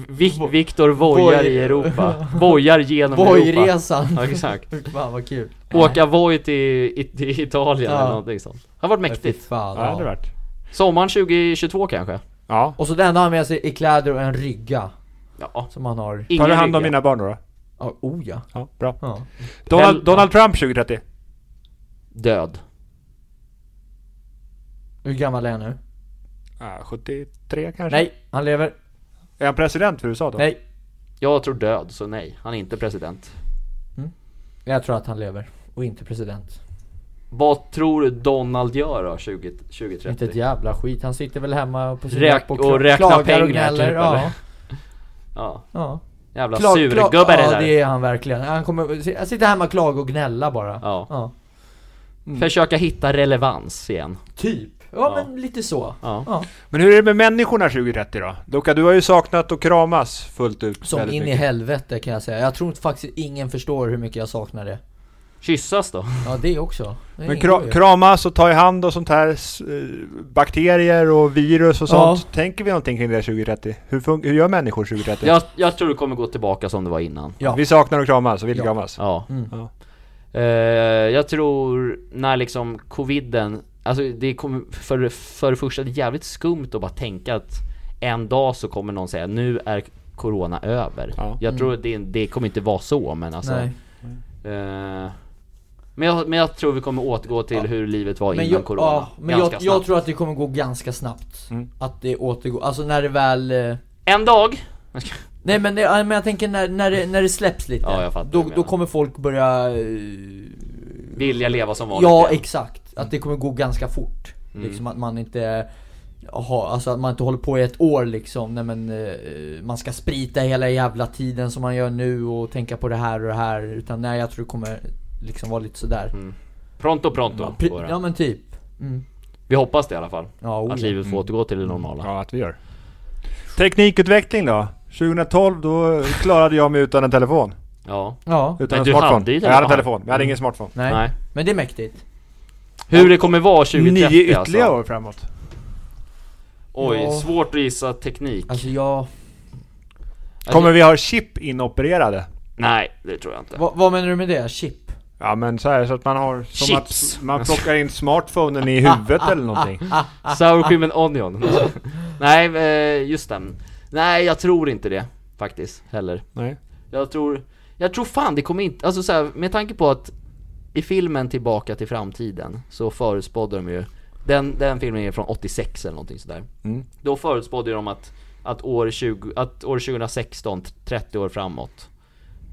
B: Vik, Viktor vojar i Europa. Vojar genom Europa.
A: Bojresan. [laughs]
B: Ja, exakt.
A: Fan vad kul.
B: Åka Voi till, i- till Italien
A: Ja.
B: eller någonting sånt. Det har varit
A: Fy
B: mäktigt.
A: Fan,
C: Ja, det hade det
A: ja.
C: varit.
B: Sommaren 2022 kanske?
C: Ja.
A: Och så det enda han har med sig är kläder och en rygga
B: Ja.
A: som han har.
B: Ingen
C: Tar du hand om
B: rygga.
C: mina barn då? då?
A: Ja, oh ja.
C: Ja, bra.
A: ja.
C: Donald, Donald Trump 2030.
B: Död.
A: Hur gammal är han nu?
C: Ja, 73 kanske?
A: Nej, han lever.
C: Är han president för USA då?
A: Nej,
B: Jag tror död, så nej. Han är inte president.
A: jag tror att han lever. Och inte president.
B: Vad tror du Donald gör då 20,
A: Inte ett
B: 2030?
A: jävla skit. Han sitter väl hemma på sin
B: Räk-
A: jack
B: och räkna
A: klagar och
B: pengar,
A: gnäller.
B: typ, eller?
A: ja.
B: Ja,
A: ja.
B: jävla
A: Klag- klag-
B: surgubbe det
A: Ja,
B: där.
A: det är han verkligen. Han kommer sitta hemma och klaga och gnälla bara.
B: Ja.
A: ja.
B: Försöka hitta relevans igen.
A: Typ. Ja,
B: Ja.
A: men lite så.
B: Ja.
C: Men hur är det med människorna 2030 då? Luka, du har ju saknat att kramas fullt ut.
A: Som in
C: väldigt
A: i
C: mycket.
A: helvete kan jag säga. Jag tror faktiskt ingen förstår hur mycket jag saknar det.
B: Kyssas då?
A: Ja, det också. Det
C: Men
A: ingår
C: kra-
A: ju.
C: kramas och ta i hand och sånt här, s- eh, bakterier och virus och
A: Ja.
C: sånt. Tänker vi någonting kring det 2030? Hur, fun- hur gör människor 2030?
B: Jag, jag tror det kommer gå tillbaka som det var innan.
A: Ja.
C: Vi saknar att kramas och vill
A: Ja.
C: kramas.
B: Ja.
A: Mm.
C: Ja.
B: Eh, jag tror när liksom coviden, alltså det kommer, för, för det första, det är jävligt skumt att bara tänka att en dag så kommer någon säga nu är corona över.
C: Ja.
B: Jag tror det, det kommer inte vara så men alltså.
A: Mm. Nej.
B: Eh, men, jag, men jag tror vi kommer återgå till hur livet var
A: Men,
B: innan
A: jag,
B: corona.
A: ja, men
B: ganska
A: jag, jag
B: snabbt.
A: tror att det kommer gå ganska snabbt.
C: Mm.
A: Att det återgår. Alltså när det väl... eh,
B: En dag!
A: Nej men, det, ja, men jag tänker när, när, det, när det släpps lite.
B: Ja, jag fattar vad
A: då,
B: du
A: då
B: menar.
A: kommer folk börja... eh,
B: Vilja leva som vanligt
A: Ja,
B: igen.
A: exakt. Att det kommer gå ganska fort.
B: Mm.
A: Liksom att man inte... Aha, alltså att man inte håller på i ett år liksom. Nej, men, eh, man ska sprita hela jävla tiden som man gör nu och tänka på det här och det här. Utan nej, jag tror det kommer liksom vara lite sådär.
B: Mm. Pronto pronto.
A: Ja,
B: går
A: pri-
B: det.
A: ja men typ. Mm.
B: Vi hoppas det i alla fall.
A: Ja, oh,
B: Att
A: ja.
B: livet får återgå till det normala.
C: Ja, att vi gör. Teknikutveckling då? 2012 då klarade jag mig utan en telefon.
B: Ja.
A: ja.
C: Utan
B: Men
C: en
B: du
C: smartphone.
B: hade ju
C: jag hade
B: telefon.
C: telefon, men jag hade ingen smartphone.
A: Nej.
B: Nej.
A: Men det är mäktigt.
B: Hur det kommer vara 2030
C: Nio ytterligare
B: alltså.
C: år framåt.
B: Oj,
A: Ja.
B: svårt att gissa teknik.
A: Alltså jag...
C: Kommer vi ha chip inopererade?
B: Nej, det tror jag inte.
A: Va, vad menar du med det? Chip?
C: Ja men så här så att man har... Som
B: Chips.
C: Att man plockar in
B: [laughs]
C: smartphonen i huvudet eller någonting.
B: Sour cream and onion. Nej, eh, just det. Nej, jag tror inte det faktiskt heller.
C: Nej.
B: Jag tror, jag tror fan det kommer inte, alltså så här, med tanke på att i filmen Tillbaka till framtiden så förutspådde de ju, den, den filmen är från 86 eller någonting sådär.
C: Mm.
B: Då förutspådde de att, att, år 20, att år 2016, 30 år framåt,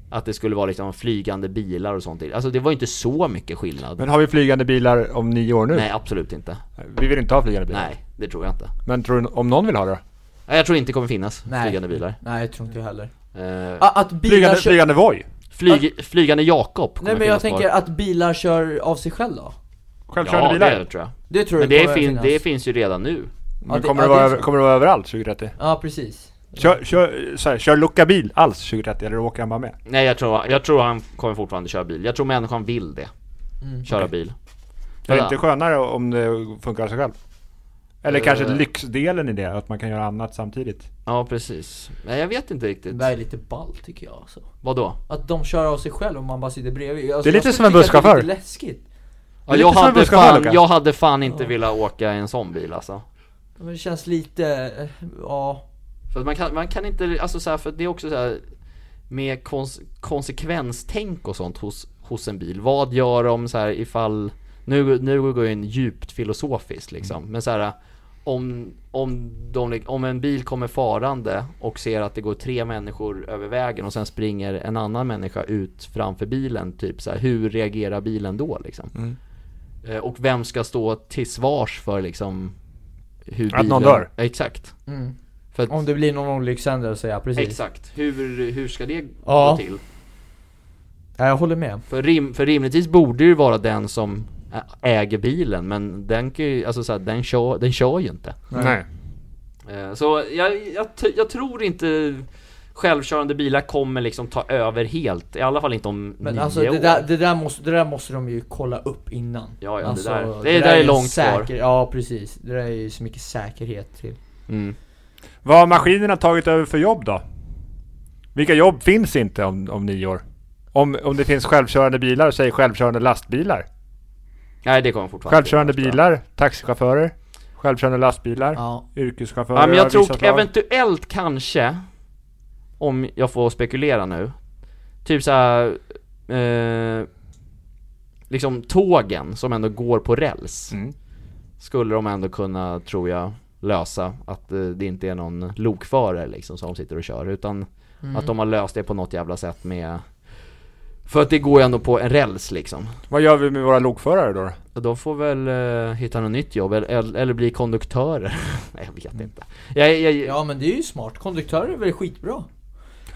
B: att det skulle vara liksom flygande bilar och sånt. Alltså det var ju inte så mycket skillnad.
C: Men har vi flygande bilar om nio år nu?
B: Nej, absolut inte.
C: Vi vill inte ha flygande bilar.
B: Nej, det tror jag inte.
C: Men tror du om någon vill ha det?
B: Nej, Jag tror inte det kommer finnas
A: Nej.
B: flygande bilar.
A: Nej, jag tror inte jag heller.
B: Eh,
A: A- Att bilar
C: Flygande,
A: kör...
C: flygande Voi?
B: flyg, flygande Jakob kommer
A: Nej men jag
B: finnas
A: tänker
B: kvar.
A: att bilar kör av sig själv då?
C: Självkörande
B: ja,
C: bilar?
B: det tror jag.
A: Det tror
B: Men
A: jag
B: det,
A: kommer
B: fin,
A: finnas.
B: det finns ju redan nu.
A: Ja,
C: Men
A: det-
C: kommer,
A: ja,
C: det vara,
A: det-
C: över- kommer det vara överallt 2030?
A: Ja, precis.
C: Kör, kör, så här, kör lucka bil alls 2030 eller åker han bara med?
B: Nej jag tror, jag tror han kommer fortfarande köra bil. Jag tror människan vill det. Köra bil.
C: Det är
B: Ja.
C: inte skönare om det funkar sig själv? Eller
B: Eh.
C: kanske lyxdelen i det, att man kan göra annat samtidigt?
B: Ja precis. Nej jag vet inte riktigt.
A: Det där är lite ball tycker jag alltså.
B: Vadå?
A: Att de kör av sig själv om man bara sitter bredvid. Alltså,
C: Det är lite
A: jag
C: som en
A: tycker att det är
C: busschaufför.
A: lite läskigt.
B: Ja,
C: lite
B: jag,
C: som en
B: hade
C: busschaufför,
B: fan,
C: Luca.
B: jag hade fan inte velat åka i en sån bil alltså.
A: Men det känns lite, eh, ja.
B: För att man kan, man kan inte, alltså så här, för det är också så här med kons, konsekvenstänk och sånt hos, hos en bil. Vad gör de så här ifall, nu, nu går jag in djupt filosofiskt liksom,
C: Mm.
B: men så här om, om, de, om en bil kommer farande och ser att det går tre människor över vägen och sen springer en annan människa ut framför bilen, typ så här, hur reagerar bilen då liksom?
C: Mm.
B: Eh, Och vem ska stå till svars för liksom hur
C: Att någon dör.
B: Exakt.
A: Mm.
B: För att,
A: Om det blir någon olyckshändelse, ja precis.
B: Exakt, hur, hur ska det
A: Ja.
B: gå till?
A: Ja, jag håller med.
B: För, rim, för rimligtvis borde det ju vara den som ä- äger bilen men den kan ju, alltså så här, den, kör, den kör ju inte
A: Nej.
B: Eh, Så jag, jag, t- jag tror inte självkörande bilar kommer liksom ta över helt, i alla fall inte om
A: Men
B: nio
A: alltså
B: år
A: det där, det, där måste, det där måste de ju kolla upp innan.
B: Ja, ja, det
A: alltså,
B: där- det där är
A: ju
B: långt
A: säker,
B: kvar.
A: Ja precis, det där är ju så mycket säkerhet till.
B: mm.
C: Vad har maskinerna tagit över för jobb då? Vilka jobb finns inte om, om nio år? Om, om det finns självkörande bilar, säg självkörande lastbilar.
B: Nej det kommer fortfarande
C: Självkörande
B: finnas, tror jag.
C: bilar, taxichaufförer, självkörande lastbilar,
A: Ja.
C: yrkeschaufförer
B: Ja men
C: av
B: jag
C: vissa
B: tror
C: slag.
B: eventuellt kanske Om jag får spekulera nu Typ såhär eh, Liksom tågen som ändå går på räls
C: Mm.
B: Skulle de ändå kunna, tror jag, lösa att eh, det inte är någon lokförare liksom som sitter och kör utan att de har löst det på något jävla sätt med För att det går ju ändå på en räls liksom
C: Vad gör vi med våra lokförare då?
B: och de får väl eh, hitta något nytt jobb eller, eller bli konduktörer [laughs] Nej jag vet inte jag, jag,
A: Ja men det är ju smart, konduktörer är väl skitbra?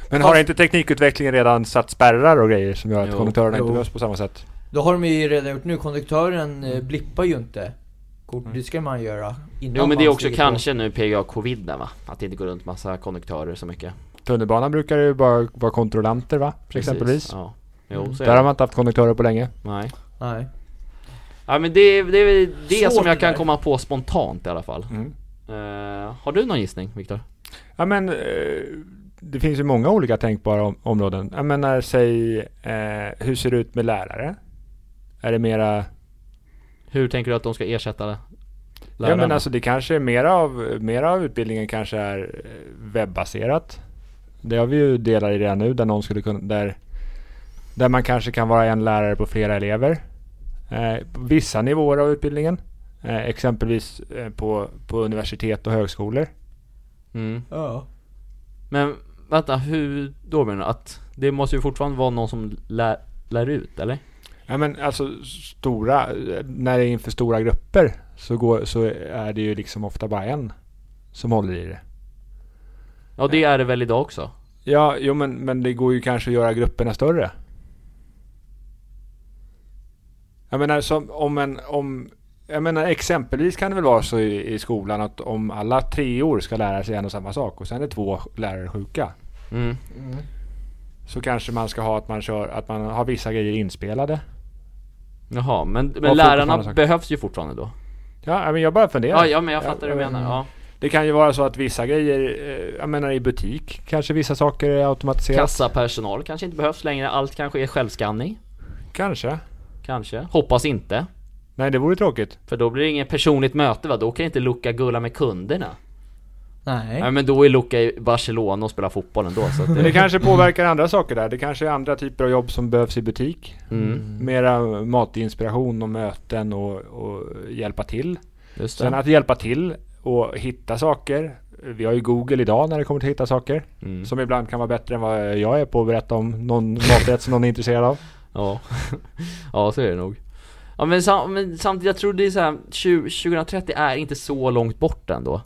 C: Men
A: Fast-
C: har inte teknikutvecklingen redan satt spärrar och grejer som gör att
B: Jo.
C: konduktörerna inte
A: Jo.
C: behövs på samma sätt?
A: Då har de ju redan gjort nu, konduktören eh, blippar ju inte kort, det ska man göra innan
B: Mm. Jo men det är
A: man
B: också
A: stiger på.
B: kanske nu PGA covid där va? Att det inte går runt massa konduktörer så mycket.
C: Tunnelbanan brukar ju bara vara kontrollanter va? Exempelvis. Mm.
B: Ja. Jo, så är
C: Där har
B: det.
C: man inte haft konduktörer på länge.
B: Nej.
A: Nej.
B: Ja men det är det, är väl det
A: Svårt
B: som jag
A: det
B: kan
A: där.
B: komma på spontant i alla fall.
C: Mm.
B: Eh, har du någon gissning Viktor?
C: Ja men eh, det finns ju många olika tänkbara om- områden. Jag menar säg, eh, hur ser det ut med lärare? Är det mera,
B: Hur tänker du att de ska ersätta lärarna?
C: ja men alltså det kanske är mera av, mera av utbildningen kanske är eh, webbaserat. Det har vi ju delar i redan nu där någon skulle kunna, där, där man kanske kan vara en lärare på flera elever. Eh, på vissa nivåer av utbildningen. Eh, exempelvis eh, på, på universitet och högskolor.
B: mm.
A: Ja.
B: men vänta, hur då menar du? Att det måste ju fortfarande vara någon som lär, lär ut eller?
C: Ja men alltså stora, när det är inför stora grupper så, går, så är det ju liksom ofta bara en som håller i det.
B: Ja det är det väl idag också?
C: Ja, jo men, men det går ju kanske att göra grupperna större. Jag menar som, om en, om, jag menar exempelvis kan det väl vara så i, i skolan att om alla treor ska lära sig en och samma sak och sen är två lärare sjuka.
B: Mm.
C: Så kanske man ska ha att man kör, att man har vissa grejer inspelade.
B: Jaha, men,
C: Ja,
B: men lärarna
C: fortfarande sagt.
B: behövs ju fortfarande då?
C: Ja, ja, men jag bara funderar.
B: Ja, ja men jag fattar hur du
C: jag-
B: menar, ja.
C: Det kan ju vara så att vissa grejer, eh, jag menar i butik, kanske vissa saker är automatiserat.
B: Kassapersonal kanske inte behövs längre, allt kanske är självskanning
C: Kanske.
B: Kanske, hoppas inte
C: Nej, det vore tråkigt.
B: För då blir det inget personligt möte va, då kan inte Luca gulla med kunderna
A: Nej.
B: Nej men då är Luca i Barcelona och spelar fotboll ändå så att
C: Men det [laughs]
B: det,
C: kanske påverkar andra saker där. Det kanske är andra typer av jobb som behövs i butik.
B: mm,
C: Mera matinspiration och möten och, och hjälpa till.
B: just
C: Sen
B: det.
C: att hjälpa till och hitta saker. Vi har ju Google idag när det kommer till att hitta saker.
B: Mm.
C: Som ibland kan vara bättre än vad jag är på att berätta om någon [laughs] maträtt som någon är intresserad av.
B: Ja. [laughs] ja, så är det nog. Ja men, sam men samtidigt, jag tror det är så här, 20, 2030 är inte så långt bort ändå.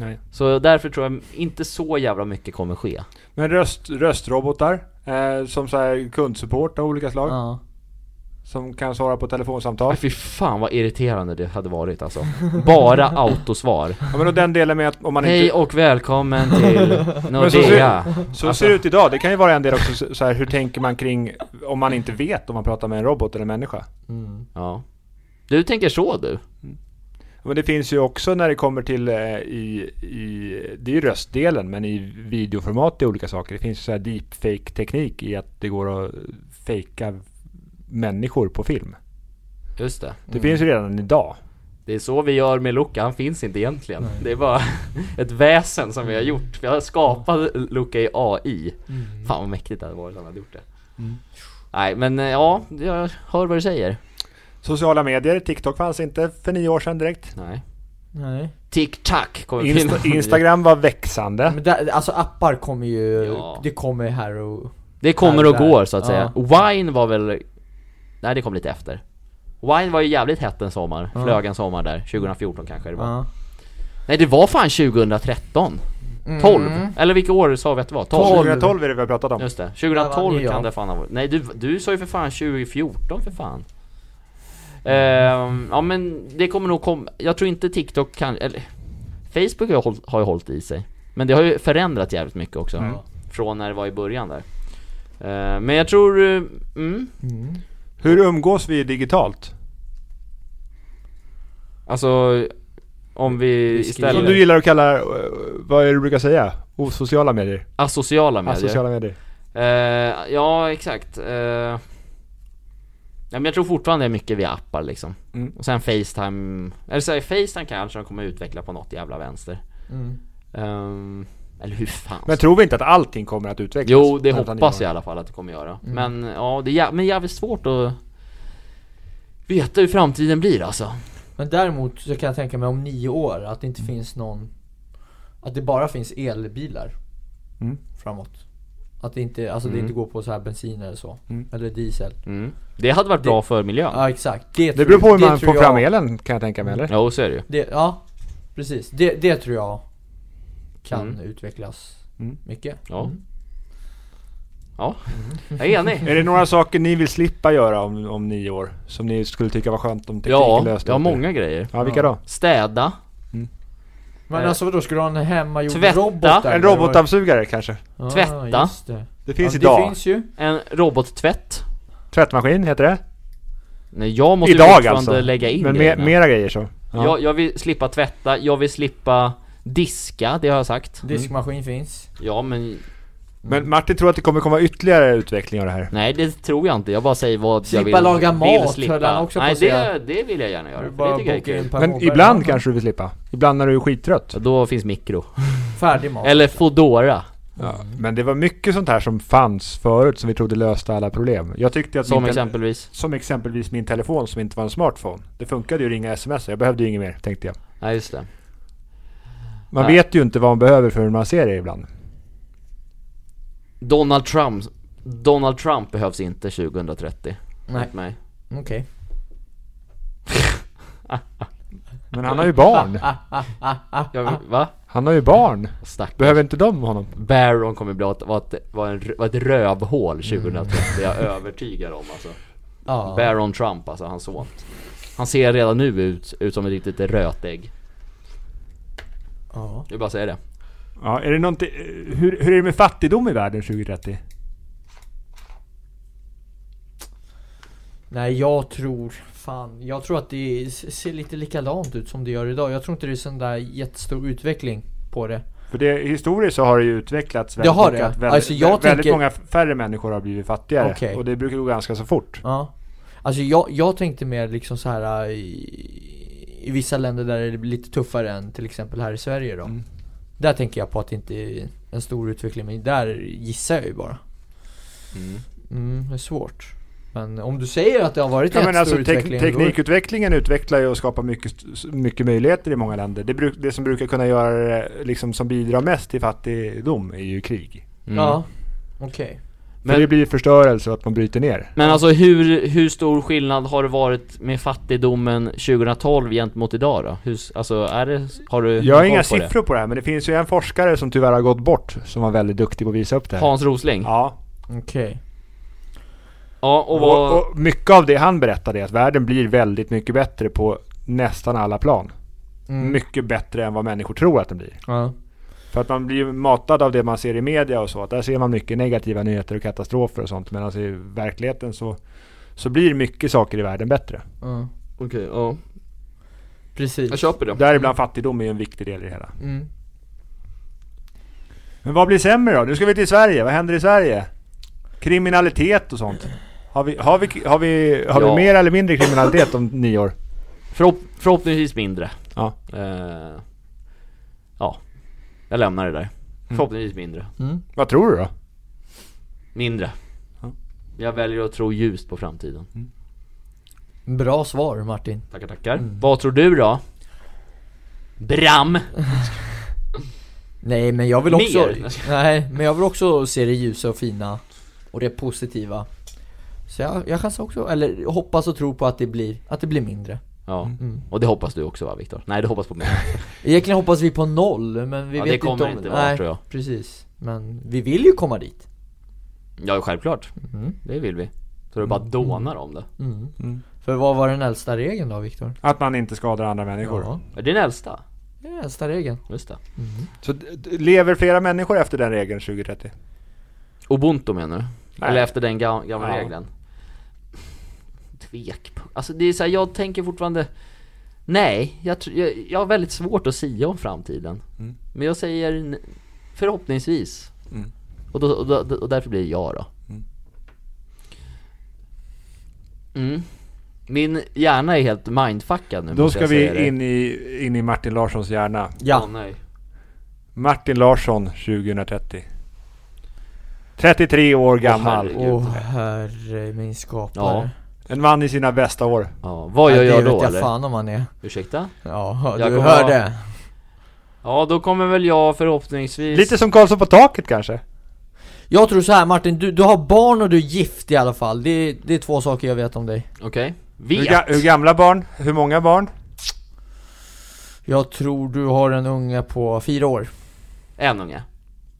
C: Nej.
B: Så därför tror jag inte så jävla mycket kommer ske.
C: Men röst, röstrobotar. Eh, som så här kundsupport av olika slag.
A: Ja.
C: Som kan svara på telefonsamtal.
B: Nej Äh, fy fan vad irriterande det hade varit alltså. Bara autosvar.
C: Ja, men och den delen med att om man
B: Hej
C: inte...
B: och välkommen till
C: Men så
B: Nordea.
C: Så ser det ut idag. Det kan ju vara en del också så- så här, hur tänker man kring om man inte vet om man pratar med en robot eller en människa.
A: Mm.
B: Ja. Du tänker så du?
C: Men det finns ju också när det kommer till eh, i, i det är ju röstdelen men i videoformat i olika saker. Det finns ju så här deepfake teknik i att det går att fejka människor på film.
B: Just det.
C: Det finns ju redan idag.
B: Det är så vi gör med Luca, han finns inte egentligen. Det är bara [laughs] ett väsen som vi
A: Mm.
B: har gjort. Vi har skapat Luca i AI. Fan vad mäktigt det hade varit om han hade gjort det.
A: Mm.
B: Nej men eh, ja, jag hör vad du säger.
C: Sociala medier, TikTok fanns inte för nio år sedan direkt.
B: Nej.
A: Nej.
B: Tic-tac kommer finnas.
C: Insta- Instagram var växande.
A: Men där, alltså appar kommer ju,
B: Ja.
A: det kommer ju här och...
B: Det kommer och
A: Där.
B: går så att säga.
A: Ja.
B: Wine var väl... Nej det kom lite efter. Wine var ju jävligt hett en sommar.
A: Ja.
B: Flög en sommar där. 2014 kanske det var.
A: Ja.
B: Nej det var fan 2013.
A: Mm.
B: 12. Eller vilka år sa vi att det var? 12.
A: 12.
C: 2012 är det vi har pratat om.
B: Just det.
A: Där vann
B: 2012
A: ju jag.
B: kan det fan ha varit. Nej du, du sa ju för fan 2014 för fan. Ehm, ja men det kommer nog komma. Jag tror inte TikTok kan... Eller... Facebook har ju, håll, har ju hållit i sig. Men det har ju förändrat jävligt mycket också. Från när det var i början där. Ehm, men jag tror... eh, Mm,
A: Mm.
C: Hur umgås vi digitalt?
B: Alltså, om vi
A: skriver.
C: Som
B: istället...
C: du gillar att kalla, eh, vad är det du brukar säga? Osociala medier?
B: Asociala medier.
C: Asociala medier.
B: Eh, ja, exakt. Eh, ja, men jag tror fortfarande det är mycket via appar liksom.
C: Mm.
B: Och sen Facetime, eller så här, Facetime kanske de kommer utveckla på något jävla vänster.
A: Mm.
B: Ehm, eller hur fan
C: Men
B: ska-
C: tror vi inte att allting kommer att utvecklas?
B: Jo, det
C: Utan
B: hoppas
C: det
B: jag
C: Mm.
B: i alla fall att det kommer göra. Men ja, det är jä- men jävligt svårt att veta hur framtiden blir alltså.
A: Men däremot så kan jag tänka mig om nio år att det inte finns någon Att det bara finns elbilar
C: Mm.
A: Framåt Att det inte, alltså det inte går på så här bensin eller så
C: Mm.
A: Eller diesel
B: Mm. Det hade varit bra för miljön.
A: Ja exakt Det,
C: Det
A: tror-
C: beror på hur man
A: tror
C: får fram
A: jag-
C: elen kan jag tänka mig eller?
B: Jo, så är det ju.
A: det, Ja precis, det, det tror jag Kan
B: Mm.
A: utvecklas
C: Mm. Mm.
A: mycket
B: Ja. Ja, jag är
C: [laughs]
B: enig.
C: Är det några saker ni vill slippa göra om, om nio år? Som ni skulle tycka var skönt om tekniken
B: Ja,
C: löste?
B: jag har
C: åt er?
B: många grejer.
C: Ja, vilka då?
B: Städa.
A: Men
B: Eh.
A: alltså vadå, ska du ha en hemmagjord
B: Tvätta.
A: robot där?
C: En robotdammsugare kanske?
A: Ja,
B: Tvätta. Mm.
A: just det.
C: Det
A: Ja,
C: finns
A: det
C: idag.
A: finns ju
B: En robottvätt.
C: Tvättmaskin heter det.
B: Nej, jag måste ju
C: idag
B: fortfarande
C: alltså.
B: lägga in
C: Men me-
B: grejerna.
C: mera grejer så. Ja.
B: jag, jag vill slippa tvätta, jag vill slippa diska, det har jag sagt. Mm.
A: Diskmaskin finns
B: Ja men,
C: Men Martin tror att det kommer komma ytterligare utveckling av det här.
B: nej det tror jag inte. Jag bara säger vad
A: Slippa
B: jag vill.
A: laga
B: vill
A: mat, höll han också på
B: Nej
A: att
B: det,
A: säga.
B: det vill jag gärna göra.
A: Du
B: för Det tycker jag är
A: bokar in
B: kul.
A: Per
C: Men
A: Morberg.
C: ibland kanske du vill slippa. Ibland när du är skittrött.
B: Ja, Då finns mikro.
A: Färdig mat
B: Eller Foodora
C: Ja.
A: Mm.
C: Men det var mycket sånt här som fanns förut som vi trodde löste alla problem. Jag tyckte att
B: som
C: min tel-
B: exempelvis.
C: som exempelvis min telefon som inte var en smartphone. Det funkade ju att ringa sms. Jag behövde ju inget mer tänkte jag.
B: Nej just det.
C: Man
B: Nej.
C: vet ju inte vad man behöver förrän man ser det ibland.
B: Donald Trump, Donald Trump behövs inte 2030.
A: Nej,
B: Enligt mig.
A: okej
C: Men han har
A: [laughs]
C: ju barn.
A: Ah,
B: Jag, va?
C: Han har ju barn.
B: Stack.
C: Behöver inte de honom?
B: Baron kommer bli att vara ett, vara en, vara ett rövhål 2030, jag är övertygad om alltså.
A: Ja.
B: Baron Trump alltså, hans son. Han ser redan nu ut, ut som ett riktigt rötägg.
A: Ja.
B: Jag bara säger det.
C: Ja, är det någonting, hur, hur är det med fattigdom i världen 2030?
A: Nej jag tror, fan, jag tror att det s- ser lite likadant ut som det gör idag. Jag tror inte det är sån där jättestor utveckling på det.
C: För det, historiskt så har det ju utvecklats väldigt
A: har
C: mycket
A: det.
C: att väldigt,
A: Alltså, jag
C: väldigt
A: tänker-
C: många färre människor har blivit fattigare.
A: Okej.
C: Och det brukar gå ganska så fort.
A: Ja. Alltså jag, jag tänkte mer liksom så här äh,
B: Mm.
A: i, i vissa länder där det blir lite tuffare än till exempel här i Sverige då. Där tänker jag på att det inte är en stor utveckling, men där gissar jag ju bara.
B: Mm.
A: Mm, det är svårt. Men om du säger att det har varit
C: Ja,
A: en
C: men
A: stor
C: alltså, tek-
A: utveckling. Då,
C: teknikutvecklingen utvecklar ju och skapar mycket, st- mycket möjligheter i många länder. Det, bruk, det som brukar kunna göra det, liksom, som bidrar mest till fattigdom är ju krig.
B: Mm.
A: Ja, okej.
C: För
B: Men,
C: det blir förstörelse och att man bryter ner.
B: men alltså hur, hur stor skillnad har det varit med fattigdomen 2012 gentemot idag då? Hur, s- alltså är det, har du
C: Jag har
B: koll
C: inga
B: på
C: siffror på det här men det finns ju en forskare som tyvärr har gått bort som var väldigt duktig på att visa upp det
B: Det?
C: här.
B: Hans Rosling? Ja,
C: Ja,
A: Okej.
B: och, vad,
C: och, och mycket av det han berättade är att världen blir väldigt mycket bättre på nästan alla plan.
A: Mm.
C: Mycket bättre än vad människor tror att den blir.
A: Ja.
C: För att man blir ju matad av det man ser i media och så. Att där ser man mycket negativa nyheter och katastrofer och sånt. Men alltså i verkligheten så, så blir mycket saker i världen bättre.
A: ja.
B: Okej, ja.
A: Precis.
B: Jag köper det.
C: Däribland fattigdom är ju en viktig del i det hela.
A: Mm.
C: Men vad blir sämre då? Nu ska vi till Sverige. Vad händer i Sverige? Kriminalitet och sånt. Har vi, har vi, har vi, har
B: Ja.
C: vi mer eller mindre kriminalitet om nio år?
B: Förhopp, förhoppningsvis mindre.
C: Ja.
B: Eh, ja. Jag lämnar det där.
C: Mm.
B: Förhoppningsvis mindre.
A: Mm.
C: Vad tror du då?
B: Mindre.
C: Ja.
B: Jag väljer att tro ljust på framtiden.
A: Bra svar Martin.
B: Tackar, tackar.
C: Mm.
B: Vad tror du då? Bram!
A: Nej men jag vill
B: Mer?
A: också, nej men jag vill också se det ljusa och fina och det positiva. Så jag, jag chansar också, eller hoppas och tror på att det blir, att det blir mindre.
B: Ja,
C: Mm.
B: och det hoppas du också va Viktor? Nej, du hoppas på
C: [laughs]
B: mig.
A: Egentligen hoppas vi på noll men vi
B: Ja,
A: vet
B: det
A: inte om...
B: kommer inte vara,
A: nej,
B: tror jag.
A: precis. Men vi vill ju komma dit.
B: Ja, självklart.
A: Mm.
B: Det vill vi. Så du bara dånar om det.
A: Mm. För vad var den äldsta regeln då Viktor?
C: Att man inte skadar andra människor.
A: Ja,
B: Är det den äldsta?
A: det är den äldsta regeln.
B: Just det.
C: Så d- d- lever flera människor efter den regeln 2030?
B: Ubuntu menar du?
C: Nej.
B: Eller efter den ga- gamla
C: Ja.
B: regeln? Tvek på. Alltså det är så här, jag tänker fortfarande Nej, jag, tr- jag, jag har väldigt svårt att sia om framtiden Men jag säger n- förhoppningsvis och, då, och, då, och därför blir det jag då mm. Min hjärna är helt mindfuckad nu
C: Då
B: måste
C: ska
B: jag säga
C: vi
B: det.
C: in i, in i Martin Larssons hjärna.
A: Ja.
B: Åh, nej.
C: Martin Larsson 2030. 33 år gammal.
B: herregud.
A: Åh herre min skapare.
C: en man i sina bästa år.
B: Ja, vad gör
A: det
B: jag
A: vet
B: då
A: jag
B: eller?
A: fan om han är.
B: Ursäkta?
A: Ja,
B: Jag
A: du
B: kommer ha-
A: hörde.
B: Ja, då kommer väl jag förhoppningsvis
C: Lite som Karlsson på taket kanske?
A: Jag tror så här Martin, du, du har barn och du är gift i alla fall. Det, det är två saker jag vet om dig.
B: Okej, vet!
C: Hur, ga, hur gamla barn? Hur många barn?
A: Jag tror du har en unge på fyra år.
B: En unge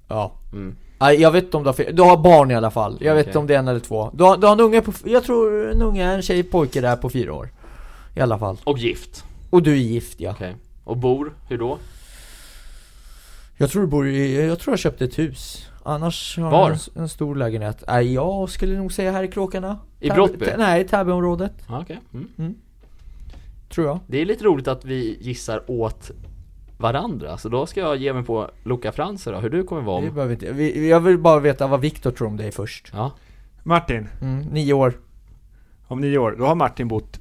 A: Ja.
B: Mm.
A: Nej, jag vet inte om du har fyra, du har barn i alla fall. Jag vet
B: Okej.
A: inte om det är en eller två. Du har, du har en unge på, f- jag tror en unge, en tjej, pojke där på fyra år. I alla fall.
B: Och gift.
A: Och du är gift ja.
B: Okej. Och bor, hur då?
A: Jag tror du bor i, jag tror jag köpte ett hus. Annars har
B: Var?
A: jag en, en stor lägenhet. Nej, jag skulle nog säga här i Kråkarna.
B: I
A: Täby-
B: Brottby?
A: Tä- Nej, Täbyområdet.
B: Ja, okej. Mm.
A: Tror jag.
B: Det är lite roligt att vi gissar åt varandra, så då ska jag ge mig på Luca Franse då, hur du kommer vara
A: Vi
B: om...
A: behöver inte, vi, jag vill bara veta vad Viktor tror om dig först.
B: Ja.
C: Martin,
A: Mm, nio år.
C: om nio år. Då har Martin bott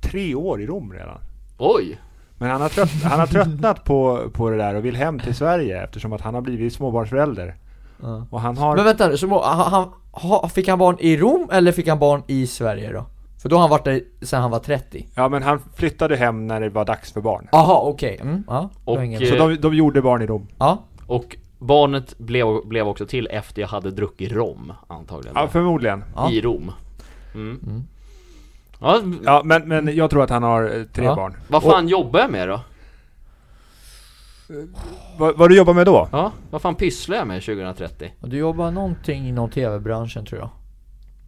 C: tre år i Rom redan.
B: Oj!
C: Men han
A: [laughs]
C: har, trött, han har tröttnat på, på det där och vill hem till Sverige eftersom att han har blivit småbarnsförälder.
A: Ja.
C: Och han har...
A: Men vänta nu, så må, han, han, ha, fick han barn i Rom eller fick han barn i Sverige då? För då har han varit där sen han var 30
C: Ja men han flyttade hem när det var dags för barn.
A: Aha, okej, mm, ja, det var
B: Och,
A: ingen-
B: eh,
C: Så de, de gjorde barn i Rom.
A: ja,
B: Och barnet blev, blev också till efter jag hade druckit rom, antagligen.
C: Ja förmodligen.
A: ja.
B: I Rom. Mm. Ja,
C: Ja men, men jag tror att han har eh, tre
A: Ja.
C: barn.
B: vad fan jobbar jag med då?
C: Vad, vad du jobbar med då?
B: Ja, vad fan pysslar jag med 2030?
A: Och du jobbar någonting inom tv-branschen tror jag,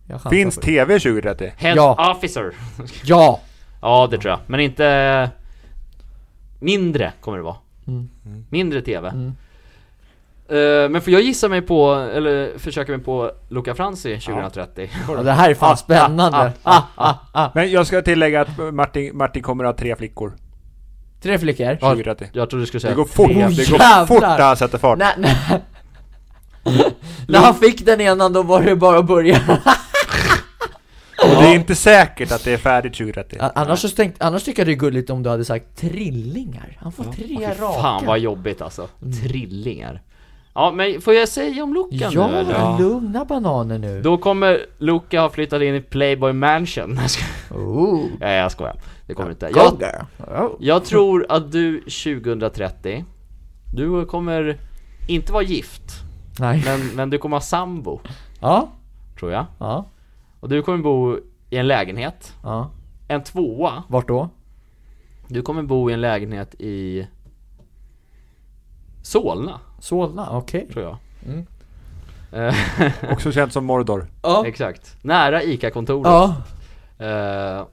A: jag chansar
C: Finns
A: på
C: TV 2030?
B: Head
A: Ja.
B: officer!
A: Ja!
B: Ja, det tror jag. Men inte... Mindre kommer det vara.
C: Mm.
B: Mindre TV. Eh, men får jag gissa mig på, eller försöka mig på Luca Franzi 2030?
A: ja, det här är fan spännande!
B: Ah, ah,
C: Men jag ska tillägga att eh, Martin, Martin kommer att ha tre flickor
A: Tre flickor?
C: 2030.
B: Jag trodde du skulle säga
C: Det går fort,
A: Åh,
C: det går
A: jävlar!
C: fort när han sätter fart.
A: Nej, nej. [laughs] När han fick den ena då var det bara att börja
C: Och det är inte säkert att det är färdigt 2030.
A: A- Annars, så tänkt, annars tycker jag det är gulligt om du hade sagt trillingar. Han får tre raka.
B: Fan vad jobbigt alltså.
C: Mm.
B: Trillingar. Ja men får jag säga om Luca nu
A: ja,
B: eller?
A: lugna bananer nu.
B: Då kommer Luca ha flyttat in i Playboy Mansion. [laughs] Nej jag skojar.
A: Oh.
B: Nej jag skojar. Det kommer inte. Jag,
A: Koga. Oh.
B: jag tror att du 2030, du kommer inte vara gift.
A: Nej.
B: Men, men du kommer ha sambo,
A: Ja,
B: tror jag.
A: ja,
B: Och du kommer bo i en lägenhet.
A: ja.
B: En tvåa.
A: Vart då?
B: Du kommer bo i en lägenhet i Solna,
A: Solna, okej.
B: tror jag.
A: Mm.
B: Eh,
C: Också känt som Mordor.
A: Ja.
B: Exakt. Nära ICA-kontoret.
A: Ja.
B: Eh,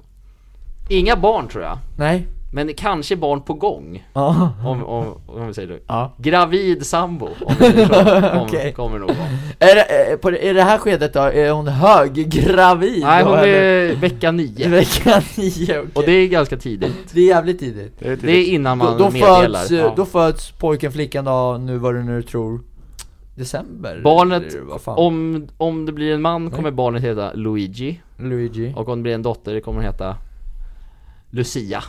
B: inga barn tror jag,
A: Nej.
B: men kanske barn på gång.
A: Ja.
B: Om, om, om vi säger det.
A: Ja.
B: Gravid sambo, om vi säger så.
A: [laughs]
B: Kom,
A: Okej.
B: Kommer nog vara.
A: Är det, eh, på det, är det här skedet då, är hon höggravid?
B: Nej,
A: då,
B: hon
A: eller?
B: är vecka
A: I
B: nio.
A: vecka nio, okej.
B: Och det är ganska tidigt.
A: Det är jävligt tidigt.
C: Det är typ
B: Det är
C: tidigt.
B: innan
A: Då,
B: man
A: då,
B: meddelar.
A: föds,
B: ja.
A: eh, då föds pojken, flickan då, nu vad du nu tror, december?
B: Barnet-
A: Eller vad fan?
B: Om, om det blir en man kommer barnet heta Luigi
A: Luigi.
B: och om det blir en dotter kommer hon heta Lucia.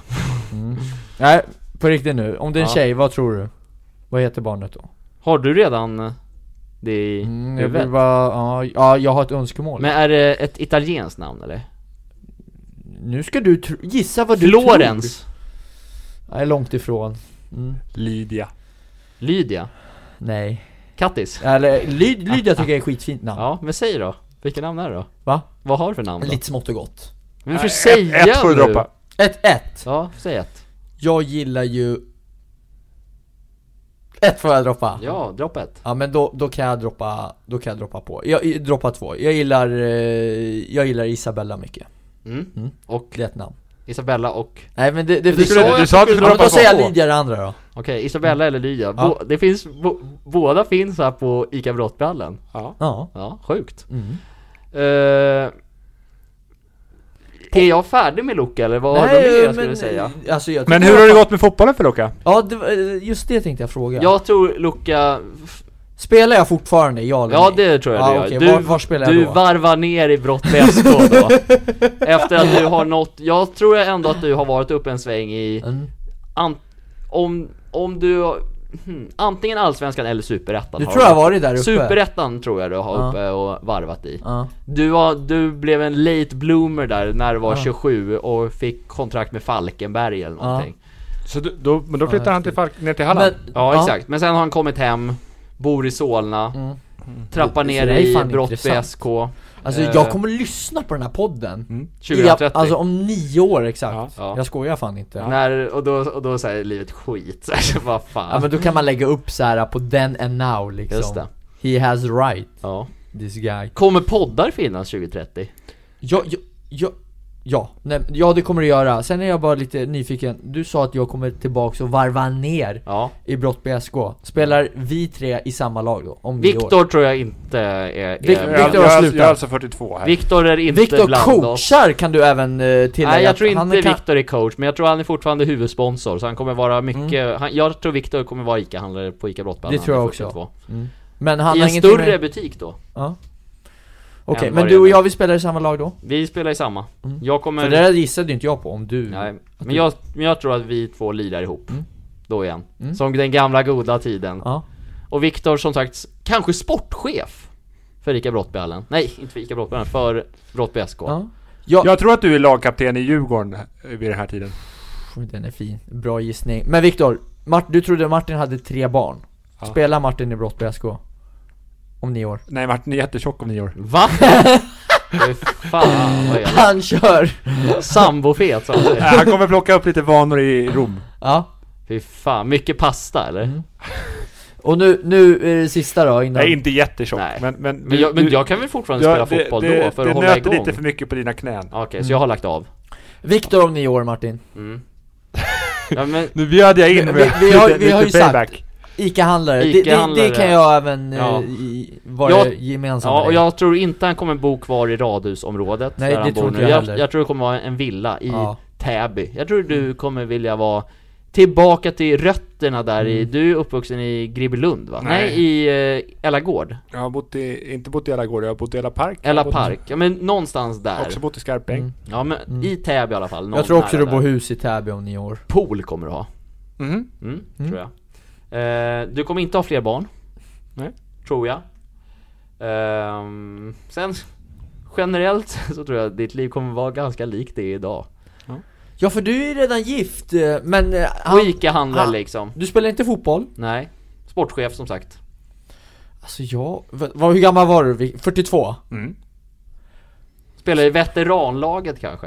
A: Nej, på riktigt nu. Om det är en
B: Ja.
A: tjej, vad tror du? Vad heter barnet då?
B: Har du redan eh, det i
A: Mm, jag
B: huvudet?
A: vill bara, ja, ja, jag har ett önskemål.
B: Men är det ett italienskt namn eller?
A: nu ska du tro, gissa vad du
B: Florens?
A: tror. Jag är långt ifrån. Mm.
C: Lydia.
B: Lydia?
A: Nej.
B: Kattis?
A: Eller, Lyd, Lydia tycker jag är skitfint namn.
B: Ja, men säg då. Vilket namn är det då?
A: Va?
B: Vad har du för namn då?
A: Lite smått och gott.
B: Men du får
C: Ett-
B: säga
C: Ett får du
B: nu.
C: droppa.
A: 1-1.
B: Ja, säg ett.
A: Jag gillar ju... Ett får jag droppa. Ja.
B: Ja, dropp ett.
A: men då, då kan jag droppa, då kan jag droppa på. Jag, jag droppa två. Jag gillar, eh, jag gillar Isabella mycket.
B: Mm.
A: Mm.
B: Och
A: Det är ett namn.
B: Isabella och...
A: Nej men det, det
C: Du
A: finns...
C: skulle- du sa att du
A: ja,
C: skulle
A: men då
C: droppa
A: säger jag
C: på.
A: Lydia det andra då.
B: Okej, Isabella eller Lydia. Bo-
A: Ja.
B: Det finns... Bo- båda finns här på ICA Brottbrallen.
C: Ja.
A: Ja.
B: Ja, sjukt.
A: Mm.
B: Eh, är jag färdig med Luca eller vad har du mer jag skulle säga?
A: Alltså, jag
C: Men
A: tycker
C: hur har det
A: jag-
C: gått med fotbollen för Luka?
A: Ja, det, var- eh, just det tänkte jag fråga.
B: Jag tror Luca,
A: Spelar jag fortfarande, ja eller
B: ja
A: nej?
B: det tror jag
A: Ja,
B: du gör.
A: okej,
B: Du,
A: var- var spelar jag
B: du
A: då?
B: varvar ner i brott med
A: [laughs]
B: SK då. Efter att du har nått, jag tror ändå att du har varit upp en sväng i,
A: Mm.
B: an, om, om du, hmm, antingen Allsvenskan eller Superettan
A: Du
B: har
A: tror jag har varit där uppe?
B: Superettan tror jag du har
A: Ja.
B: uppe och varvat i.
A: Ja.
B: Du, var, du blev en late bloomer där när du var 27 och fick kontrakt med Falkenberg eller någonting.
C: Så du, då, men då
A: Ja,
C: flyttar han till Falk, ner till Halland?
A: Men,
B: Ja, exakt. Men sen har han kommit hem, bor i Solna,
A: Mm.
B: trappar
A: Det-
B: ner
A: det är
B: i
A: fan
B: Brottby
A: intressant.
B: SK
A: Alltså
B: Eh.
A: jag kommer lyssna på den här podden.
B: 2030.
A: Ja, alltså om nio år exakt.
C: Ja.
B: Ja.
A: Jag skojar fan inte. Ja.
B: När, och då, och då säger livet skit, [laughs] så här, vad fan.
A: men då kan man lägga upp så här på then and now liksom.
B: Just det.
A: He has right,
B: Ja.
A: this guy.
B: Kommer poddar finnas 2030?
A: Ja, ja, ja, ja, nej, ja det kommer det göra. Sen är jag bara lite nyfiken. Du sa att jag kommer tillbaks och varva ner
B: Ja.
A: i Brott BSK. Spelar vi tre i samma lag då? Om nio år?
B: Viktor tror jag inte är...
A: Vic-
B: är
C: Jag, jag,
A: Victor har
C: jag,
A: slutat.
C: jag är alltså 42 här.
B: Viktor är inte
A: Viktor
B: bland oss.
A: coachar kan du även eh, tillägga.
B: Nej jag tror
A: att han
B: inte
A: kan- Mm.
B: Viktor är coach, men jag tror han är fortfarande huvudsponsor, så han kommer vara mycket... Han, jag tror Viktor kommer vara ICA-handlare på ICA Brottband.
A: Det tror jag också. Men han
B: I
A: har
B: en
A: ingenting
B: större
A: med...
B: butik då.
A: Ja. Okej,
B: Än vad
A: men du
B: det är
A: och
B: nu.
A: jag vi spelar i samma lag då?
B: Vi spelar i samma.
A: Mm.
B: Jag kommer...
A: För det där gissade ju inte jag på om du...
B: Nej, men
A: du-
B: jag, men jag tror att vi två lirar ihop.
A: Mm.
B: Då igen.
A: Mm.
B: Som den gamla goda tiden.
A: Ja.
B: Och Viktor som sagt, s- kanske sportchef för ICA Brottbyhallen. Nej, inte för ICA Brottbyhallen, för Brottby SK.
A: Ja. Jag,
C: Jag tror att du är lagkapten i Djurgården eh, vid den här tiden.
A: Pff, Den är fin, bra gissning. Men Viktor, Mart, du trodde Martin hade tre barn.
C: Ja.
A: Spelar Martin i Brottby SK? Om nio år.
C: Nej Martin är jättetjock om nio år.
A: [laughs]
B: Va? Fy Fan vad är det?
A: Han kör!
B: Sambofet sa han
C: Nej,
B: säger.
C: han kommer plocka upp lite vanor i Rom.
A: Ja.
B: Fy fan, mycket pasta eller?
A: Och nu, nu är det sista då innan...
C: Nej inte jättetjock
B: Nej.
C: men... Men,
B: Men jag, men
C: du-
B: jag kan väl fortfarande
C: ja,
B: spela fotboll
C: det,
B: då för
C: det,
B: att
C: det
B: hålla
C: nöter
B: igång?
C: lite för mycket på dina knän.
B: Okej, så jag har lagt av.
A: Viktor om nio år Martin.
B: Mm. Ja,
C: [laughs]
B: men,
C: Nu bjöd jag in
A: Vi-
C: med
A: vi- vi har-
C: lite,
A: vi har ju
C: lite
A: sagt-
C: payback.
A: Ica-handlare, det, det, det
B: Ica-handlare.
A: kan jag även eh,
B: Ja.
A: i, vara
B: Jag-
A: gemensam
B: ja,
A: med
B: och
A: dig.
B: jag tror inte han kommer bo kvar i radhusområdet
A: Nej,
B: där
A: det
B: han
A: tror
B: bor
A: inte
B: nu.
A: jag
B: Jag,
A: heller.
B: jag tror det kommer vara en villa i
A: Ja.
B: Täby. Jag tror du kommer vilja vara Tillbaka till rötterna där i,
A: Mm.
B: du är uppvuxen i Gribbelund va? Nej,
C: Nej.
B: i eh, Ellagård?
C: Jag har bott i, inte bott i alla gårdar, jag har bott i alla park. Jag har
B: Ella
C: bott-
B: Park, ja men någonstans
C: Jag har
B: där
C: också bott i Skarpäng.
B: Mm. Ja men i Täby i alla fall,
A: Jag tror också
B: nära
A: du bor
B: där.
A: hus i Täby om nio år
B: Pool kommer du ha,
C: Mhm.
B: mm, tror jag eh, Du kommer inte ha fler barn
C: Nej.
B: Tror jag Ehm, Sen generellt [laughs] så tror jag att ditt liv kommer vara ganska likt det är idag
A: Ja för du är ju redan gift, eh, men eh,
B: Och
A: han,
B: Ica-handlar
A: han-
B: liksom,
A: du spelar inte fotboll?
B: nej Sportchef som sagt
A: Alltså jag, vad, vad- hur gammal var du? Vi- 42?
C: Mm.
B: Spelar i veteranlaget kanske?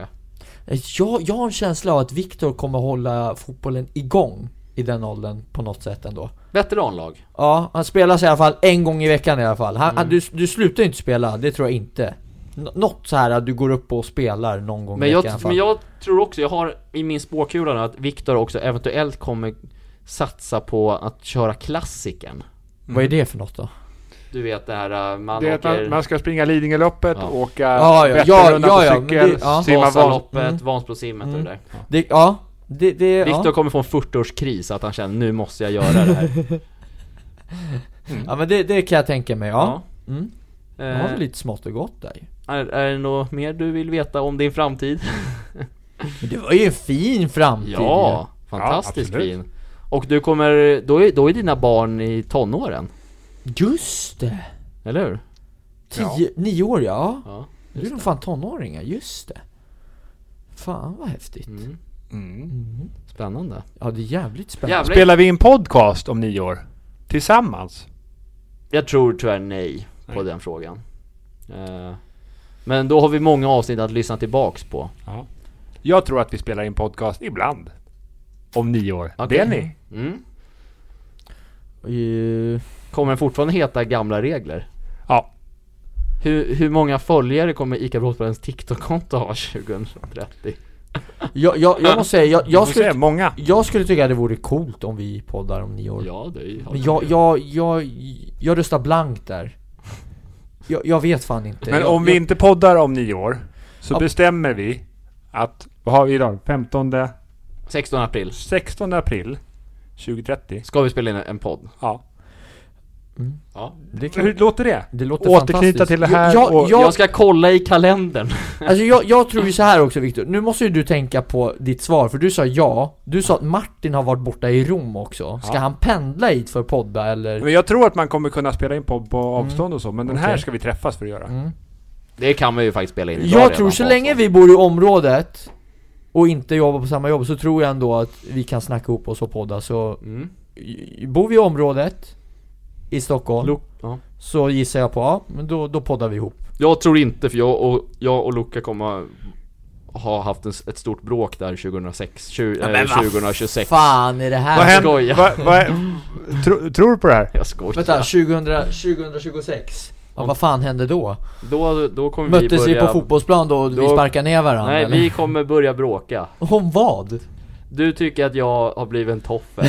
A: Eh, Jag, jag har en känsla av att Viktor kommer hålla fotbollen igång i den åldern på något sätt ändå
B: Veteranlag?
A: Ja, han spelar i alla fall en gång i veckan i alla fall. Han,
B: Mm.
A: han, du, du slutar ju inte spela, det tror jag inte. N- något så här att du går upp och spelar någon gång
B: Men
A: i veckan i alla
B: jag,
A: fall.
B: men jag tror också, jag har i min spåkula nu att Viktor också eventuellt kommer satsa på att köra klassiken
A: Mm. Vad är det för något då?
B: Du vet det här, äh, man
C: Det är att man,
B: åker
C: man ska springa Lidingöloppet,
B: Ja.
C: åka
A: Ja, ja,
C: Vätternrundan
A: ja, ja,
C: på
A: men
C: cykel,
A: det- ja.
C: simma Vasalopp.
B: Vasaloppet,
A: Mm.
B: Vansbrosimmet och det där
A: Det, ja, det, det,
B: Viktor
A: ja.
B: kommer få en 40-årskris att han känner nu måste jag göra
A: [laughs]
B: det här
A: ja men det, det kan jag tänka mig, ja. Mm. Det var
B: Eh,
A: väl lite smått och gott där ju.
B: är, är det något mer du vill veta om din framtid?
A: Men det var ju en fin
B: [laughs]
A: framtid
B: Ja, fantastiskt
C: Ja, absolut.
B: fin Och du kommer, då är, då är dina barn i tonåren,
A: ju. Just det!
B: eller hur?
A: Tio, nio år ja.
B: Ja,
A: Nu är de fan tonåringar, just det. Fan vad häftigt.
B: mm.
C: Mm.
B: spännande
A: Ja det är jävligt spännande.
B: Jävlar,
C: Spelar vi in podcast om nio år? Tillsammans?
B: Jag tror tyvärr nej på den frågan. Eh, Men då har vi många avsnitt att lyssna tillbaks på.
C: Jag tror att vi spelar in podcast ibland. Om nio år.
B: Okej.
C: Det är ni.
B: Mm.
A: Eh,
B: Kommer den fortfarande heta gamla regler?
C: Ja.
B: Hur, hur många följare kommer ICA Brottbladens TikTok-konto ha 2030?
A: Jag, jag, jag måste säga, jag,
C: Jag
A: jag
C: skulle...
A: skulle
C: se, många.
A: Jag skulle tycka det vore coolt om vi poddar om nio år
B: Ja, det är ju...
A: Men jag, jag, jag, jag röstar blankt där Jag, jag vet fan inte
C: Men
A: jag,
C: om vi inte poddar om nio år så
A: Ja.
C: bestämmer vi att, vad har vi idag? 15,
B: 16 april
C: 16 april 2030.
B: ska vi spela in en podd.
C: Ja.
B: Ja.
A: jag, det,
C: Hur
A: kan,
C: låter det?
A: det låter
C: Återknyta
A: fantastiskt.
C: till det här
A: jag, jag,
C: och-
B: Jag
A: jag,
B: ska kolla i kalendern.
A: alltså jag, jag tror ju så här också Viktor, nu måste ju du tänka på ditt svar för du sa ja Du sa att Martin har varit borta i Rom också, ska
C: Ja.
A: han pendla hit för att podda eller?
C: Men jag tror att man kommer kunna spela in podd på avstånd och så, men den här
A: Okej.
C: ska vi träffas för att göra.
B: Det kan vi ju faktiskt spela in idag
A: Jag
B: redan
A: tror
B: på alltså.
A: så
B: avstånd.
A: länge vi bor i området och inte jobbar på samma jobb så tror jag ändå att vi kan snacka ihop oss och podda så
B: Mm.
A: i- Bor vi i området i Stockholm
B: Lo- ja.
A: så gissar jag på ja, men då, då poddar vi ihop.
B: Jag tror inte, för jag och, jag och Luca kommer ha haft en, s- ett stort bråk där 2006, tju- eh, 2026
A: Fan är det här?
C: Vad händer?
B: skojar.
C: Vad, vad, tro, tror du på det här?
B: Jag skojar.
A: Vänta, 2000, 2026? Ja, vad fan hände då?
B: Då, då kommer vi
A: Möttes vi
B: börja...
A: på fotbollsplan då och vi
B: då-
A: sparkade ner varandra?
B: Nej,
A: eller?
B: vi kommer börja bråka.
A: Om vad?
B: Du tycker att jag har blivit
A: [laughs]
B: en toffel.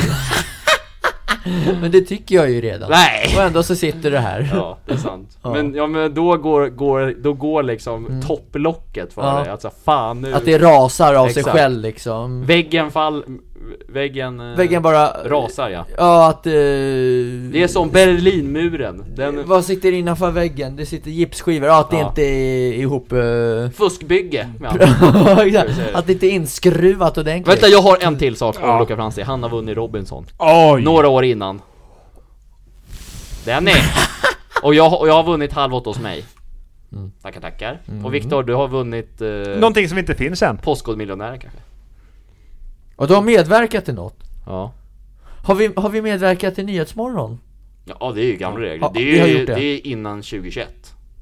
A: Men det tycker jag ju redan.
B: Nej!
A: Och ändå så sitter du här.
B: Ja, det är sant.
A: Ja. Mm.
B: Men, ja, men då, går, går, då går liksom topplocket för
A: Ja.
B: dig. Alltså fan nu...
A: Att det rasar av sig
B: Exakt.
A: själv liksom.
B: Väggen fall... Väggen... eh,
A: Väggen bara...
B: Rasar ja.
A: Ja, att... eh,
B: Det är som Berlinmuren. Den...
A: Vad sitter innanför väggen? Det sitter gipsskivor, ja att det
B: Ja.
A: inte är ihop... eh, [laughs]
B: Fuskbygge. Ja.
A: att det inte är inskruvat ordentligt.
B: Vänta, jag har en till sak om
C: Ja.
B: Luca Franzi. Han har vunnit Robinson.
C: Oj!
B: Några år innan. Den är!
A: [laughs]
B: Och jag, och jag har vunnit halv åt hos mig.
A: Mm.
B: Tackar, tackar. Och Viktor, du har vunnit eh,
C: Någonting som inte finns än.
B: Postkodmiljonären kanske?
A: Och du har medverkat till något?
B: Ja.
A: Har vi, har vi medverkat till Nyhetsmorgon?
B: Ja, det är ju gamla regler.
A: Ja,
B: det,
A: vi har
B: är ju,
A: gjort det.
B: det. är innan 2021.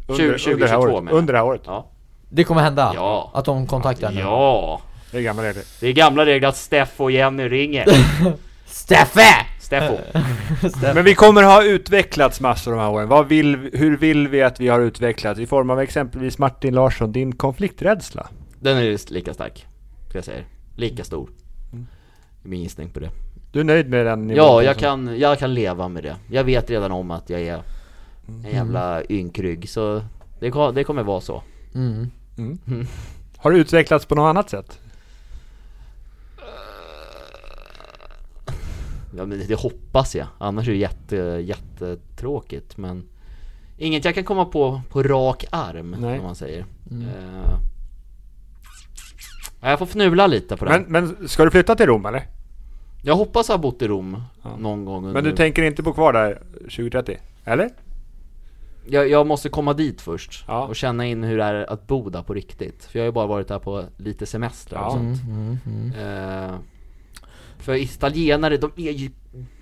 C: Under,
B: 20,
C: under det
B: 2022
C: här året.
B: menar jag.
C: Under det här året.
B: Ja.
A: Det kommer hända?
B: Ja.
A: Att de kontaktar henne?
B: ja.
C: Det är gamla regler.
B: Det är gamla regler att Steff och Jenny [laughs] ringer.
A: Steffe!
B: Steffo.
C: Men vi kommer ha utvecklats massor de här åren. Vad vill, vi- hur vill vi att vi har utvecklats? I form av exempelvis Martin Larsson, din konflikträdsla.
B: [laughs] Den är ju lika stark. ska Jag säger. Lika stor.
C: Mm.
B: Min gissning på det.
C: Du är nöjd med den nivån?
B: Ja, jag kan, jag kan leva med det. Jag vet redan om att jag är en
C: Mm.
B: jävla ynkrygg, så det, ko- det kommer vara så.
A: Mm.
C: Har du utvecklats på något annat sätt?
B: Ja, men det hoppas jag. Annars är det jätte, jättetråkigt. Men inget jag kan komma på på rak arm,
C: Nej. Mm.
B: om man säger. Eh, ja, jag får fnula lite på det.
C: Men, men ska du flytta till Rom eller?
B: Jag hoppas ha bott i Rom någon gång under...
C: Men du tänker inte bo kvar där 2030? Eller?
B: jag, jag måste komma dit först
C: Ja.
B: och känna in hur det är att bo där på riktigt. För jag har ju bara varit där på lite semester
C: Ja.
B: och sånt. Eh, för italienare, de är ju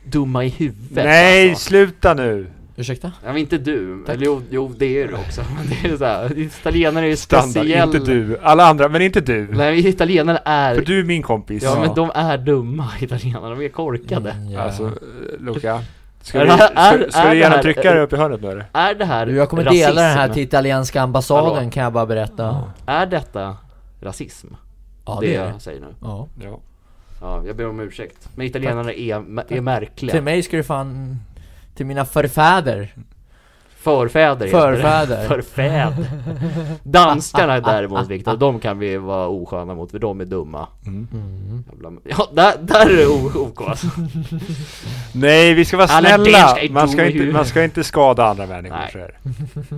B: dumma i huvudet
C: Nej,
B: alltså.
C: sluta nu!
A: Ursäkta?
B: Ja, men inte du, eller jo, jo det är du också. [laughs] Men det är så här, italienare är ju
C: Standard,
B: speciella.
C: inte du. Alla andra, men inte du.
B: Nej, italienare är...
C: För du är min kompis.
B: Ja, men de är dumma, [laughs] italienare. De är korkade.
A: Ja.
C: Alltså, eh, Luca. Ska
B: Är
C: du,
B: det här-
C: ska,
B: är-
C: ska
B: är
C: du
B: det här-
C: gärna trycka dig upp i hörnet nu eller?
B: Är det här
A: Du, jag kommer
B: rasism?
A: dela den här till italienska ambassaden
C: Hallå?
A: kan jag bara berätta.
B: Är detta rasism?
A: Ja,
B: det,
A: det är det.
B: jag säger nu.
A: Ja.
C: Ja.
B: Ja, jag ber om ursäkt. Men italienarna är, är märkliga.
A: Till mig ska du fan... Till mina förfäder.
B: Förfäder heter
A: Förfäder.
B: det. [laughs] Förfäder.
A: [laughs]
B: Danskarna däremot Viktor, de kan vi vara osköna mot för de är dumma.
C: Mm.
A: Mm.
B: Jävla- Ja, där, där är det o- OK alltså.
C: Nej, vi ska vara
B: Alla
C: snälla!
B: danskar är
C: Man ska,
B: dumma i
C: inte,
B: huvudet.
C: man ska inte skada andra människor
B: Nej.
C: så är det.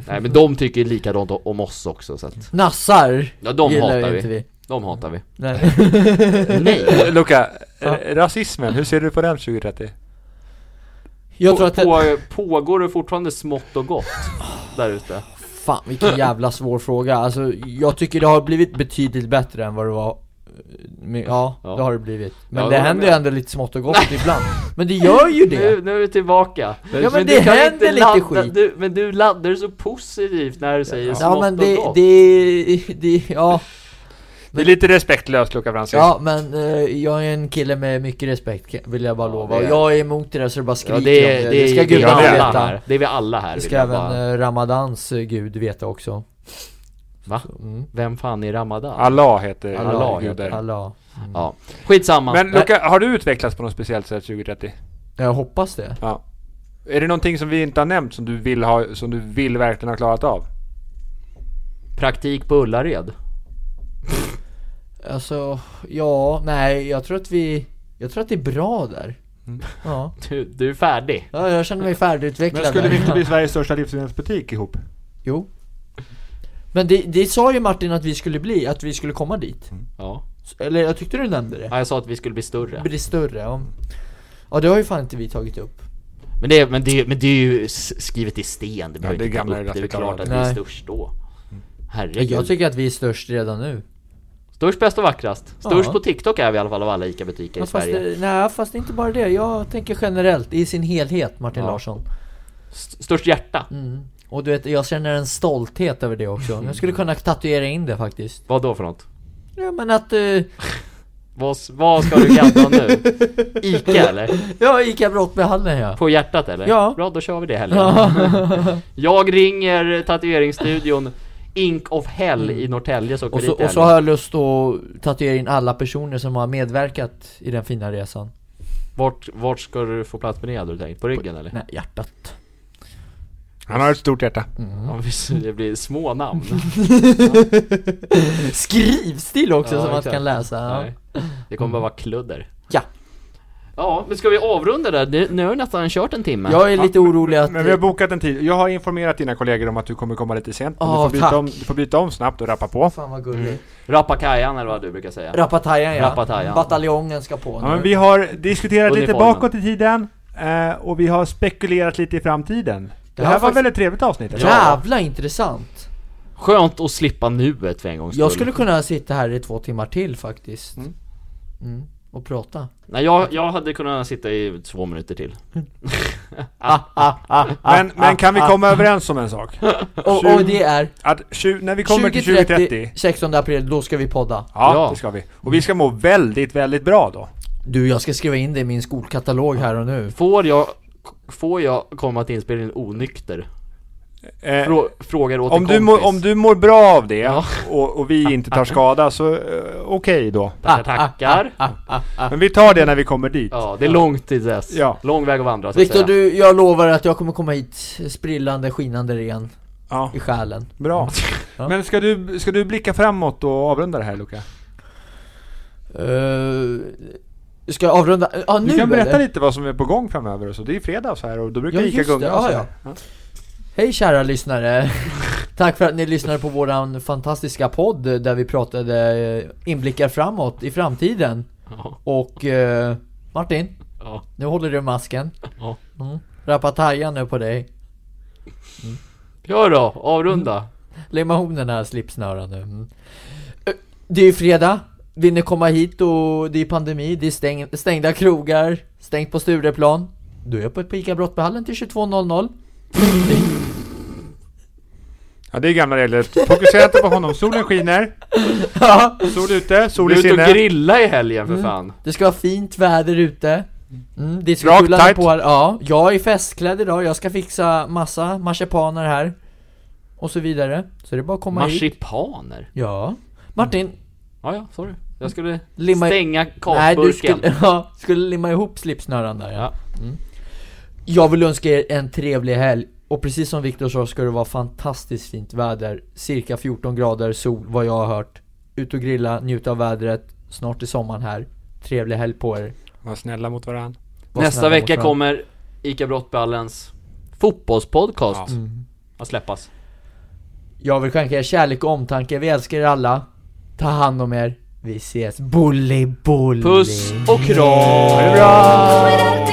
B: Nej men de tycker likadant om oss också så att,
A: Nassar!
B: Ja, de
A: gillar
B: hatar
A: ju
B: vi.
A: inte vi.
B: de hatar vi.
A: Nej.
B: Nej! [laughs]
C: Eh, Luca,
A: Ja.
C: eh, rasismen, hur ser du på den 2030?
A: Jag tror att det...
B: på, Pågår det fortfarande smått
A: [laughs]
B: och gott där ute?
A: Fan vilken jävla svår fråga, alltså jag tycker det har blivit betydligt bättre än vad det var eh, men- Ja,
B: Ja.
A: det har det blivit. Men
B: Ja,
A: det
B: jag
A: händer ju
B: med.
A: ändå lite smått och gott ibland. Men det gör ju
B: [laughs]
A: det!
B: Nu, nu är vi tillbaka!
A: men det
B: du kan
A: händer
B: inte
A: lite
B: ladda,
A: skit.
B: Du, men du laddar det så positivt när du säger smått
A: Ja men
B: och
A: det,
B: gott.
A: det, det, ja,
C: Det är lite respektlöst Luca Francis.
A: ja men eh, jag är en kille med mycket respekt kan- vill jag bara
B: Ja,
A: lova.
B: det
A: Och
B: är-
A: jag är emot det där så det bara skriker
B: Ja,
A: om
B: det, är- det, är-
A: ska
B: det, är
A: gudarna
B: vi alla
A: veta.
B: här. Det är vi alla här.
A: Det
B: vill
A: ska
B: jag
A: även
B: bara-
A: eh, Ramadans eh, gud veta också.
B: Va?
A: Mm.
B: Vem fan är Ramadan?
C: Allah heter
B: Allah
C: guden.
B: heter
A: Allah.
B: Ja, skitsamma.
C: Men Luca, har du utvecklats på något speciellt sätt 2030?
A: Jag hoppas det.
C: Ja. Är det någonting som vi inte har nämnt som du vill ha, som du vill verkligen ha klarat av?
B: Praktik på Ullared.
A: Alltså, ja, nej, jag tror att vi, jag tror att det är bra där. Ja.
B: Du, du är färdig.
A: ja, jag känner mig färdigutvecklad där.
C: Sveriges största livsmedelsbutik ihop?
A: Jo. Men det, det sa ju Martin att vi skulle bli, att vi skulle komma dit.
B: Ja.
A: S- Eller jag tyckte du nämnde det.
B: ja. Jag sa att vi skulle bli större.
A: Bli större. Ja. ja, det har ju fan inte vi tagit upp.
B: Men det, är- men det, är- men det är ju s- skrivet i sten. Det behöver
C: det är
B: inte
C: gamla Mm.
B: ta upp. Det är väl
C: reklamer.
B: klart att vi är
A: Nej.
B: störst då. Herregud.
A: Jag tycker att vi är störst redan nu.
B: Störst, bäst och vackrast. Störst
A: Ja.
B: på TikTok är vi i alla fall av alla ICA-butiker
A: Ja,
B: i
A: fast,
B: Sverige.
A: det- nej, fast inte bara det. Jag tänker generellt, i sin helhet, Martin
B: Ja.
A: Larsson.
B: S- Störst hjärta.
A: Mm. Och du vet, jag känner en stolthet över det också. Jag skulle kunna tatuera in det faktiskt.
B: Vad då för något?
A: Ja, men att... eh,
B: Vad, s- vad ska du gadda
A: [laughs]
B: om nu? ICA eller?
A: Ja, gick jag brott med handen ja.
B: På hjärtat eller?
A: Ja.
B: Bra, då kör vi det helgen. Jag ringer tatueringsstudion Ink of Hell i Norrtälje så åker
A: Mm. Och så,
B: vi dit i
A: och så
B: helgen.
A: har jag lust att tatuera in alla personer som har medverkat i den fina resan.
B: Vart, vart ska du få plats med det hade du tänkt? På ryggen eller?
A: Nej, hjärtat.
C: Han har ett stort hjärta.
B: Ja, visst, det blir små namn.
A: Skrivstil också
B: Ja,
A: som man
B: exakt.
A: kan läsa. Ja.
B: Nej. Det kommer bara vara kludder.
A: Ja.
B: Ja, men ska vi avrunda där? Nu- Nu har vi nästan kört en timme.
A: Jag är lite orolig att...
C: Men vi har bokat en tid. Jag har informerat dina kollegor om att du kommer komma lite sent. men
A: Ja,
C: du, får
A: tack.
C: byta om, du får byta om snabbt och rappa på.
A: Fan vad
B: Mm.
A: gullig.
B: Rappakajan eller vad du brukar säga.
A: Rapatajan ja.
B: Rapatajan.
A: Bataljongen ska på
C: Ja,
A: nu.
C: men vi har diskuterat lite
B: Uniformen.
C: bakåt i tiden eh, och vi har spekulerat lite i framtiden. Det
A: här
C: här var
A: var
C: ett väldigt trevligt avsnitt. eller?
A: Jävla intressant.
B: Skönt att slippa nuet för en gångs skull.
A: Jag skulle kunna sitta här i två timmar till faktiskt. Mm. Och prata.
B: Nej, jag, jag hade kunnat sitta i två minuter till. Ah,
C: Men, men kan vi komma överens om en sak?
A: Och, och det är
C: Att tju- när vi kommer till
A: 2030,
C: 2030
A: 16 april, då ska vi podda.
C: Ja,
B: Ja.
C: det ska vi. Och vi ska må väldigt, väldigt bra då.
A: Du, jag ska skriva in det i min skolkatalog här och nu.
B: Får jag, får jag komma till inspelningen onykter?
C: Eh,
B: Frå, frågar åt
C: om,
B: en
C: du
B: kompis.
C: mår, om du mår bra av det
B: Ja.
C: och, och vi inte tar skada så eh, okej då.
B: Tackar, tackar.
A: Ah,
C: Men vi tar det när vi kommer dit.
B: Ja, det är långt till dess.
C: Ja.
B: Lång väg att vandra så att
A: Viktor,
B: säga.
A: du, jag lovar att jag kommer komma hit sprillande, skinande ren
C: Ja,
A: i själen.
C: bra.
A: Ja.
C: [laughs] Men ska du, ska du blicka framåt och avrunda det här Luca?
A: Eh, Ska jag avrunda? Ja, nu
C: Du kan berätta
A: eller?
C: lite vad som är på gång framöver och så. Det är ju fredag och så här och då brukar
A: Ja,
C: Ica
A: just det.
C: gunga
A: Ja,
C: och så
A: ja.
C: här. Ja.
A: Hej kära lyssnare! [laughs] Tack för att ni lyssnade på våran fantastiska podd där vi pratade eh, inblickar framåt i framtiden.
B: Ja,
A: Och eh, Martin,
B: ja,
A: nu håller du masken.
B: ja.
A: Mm. Rappatarja nu på dig.
B: Kör då,
C: Mm.
B: avrunda.
A: Limma ihop den här slipsnöran nu. Mm. Eh, Det är ju fredag. Vill ni komma hit och det är pandemi, det är stäng, stängda krogar, stängt på Stureplan. Du är jag på Ica Brottbyhallen till 22.00.
C: ja, det är gamla regler. Fokusera inte på honom. Solen skiner.
A: Ja.
C: Sol ute, sol
B: Du är
C: i
B: ute och
C: sinne.
B: grilla i helgen
A: Mm.
B: för fan.
A: Det ska vara fint väder ute. Mm, det ska
C: Rakt,
A: kulan är
C: tight.
A: på här. Ja, jag är festklädd idag. Jag ska fixa massa marsipaner här. Och så vidare. Så det är bara att komma hit.
B: Marsipaner?
A: Ja. Martin,
B: Ja, ja, sorry. Jag skulle
A: Limma-
B: stänga
A: nej du
B: kakburken.
A: skulle, [laughs] ja, skulle limma ihop slipsnöran där ja. Mm.
B: Ja.
A: Jag vill önska er en trevlig helg. Och precis som Viktor sa ska det vara fantastiskt fint väder. Cirka 14 grader sol vad jag har hört. Ut och grilla, njuta av vädret. Snart är sommaren här. Trevlig helg på er.
C: Var snälla mot varandra.
A: Var
B: Nästa
A: snälla mot
B: vecka
A: varandra.
B: kommer ICA Brottballens fotbollspodcast
C: Ja.
B: att släppas.
A: Jag vill skänka er kärlek och omtanke, vi älskar er alla Ta hand om er, vi ses, bully bully
B: Puss och kram!
C: Bra!
D: Kommer alltid Ah, Ah,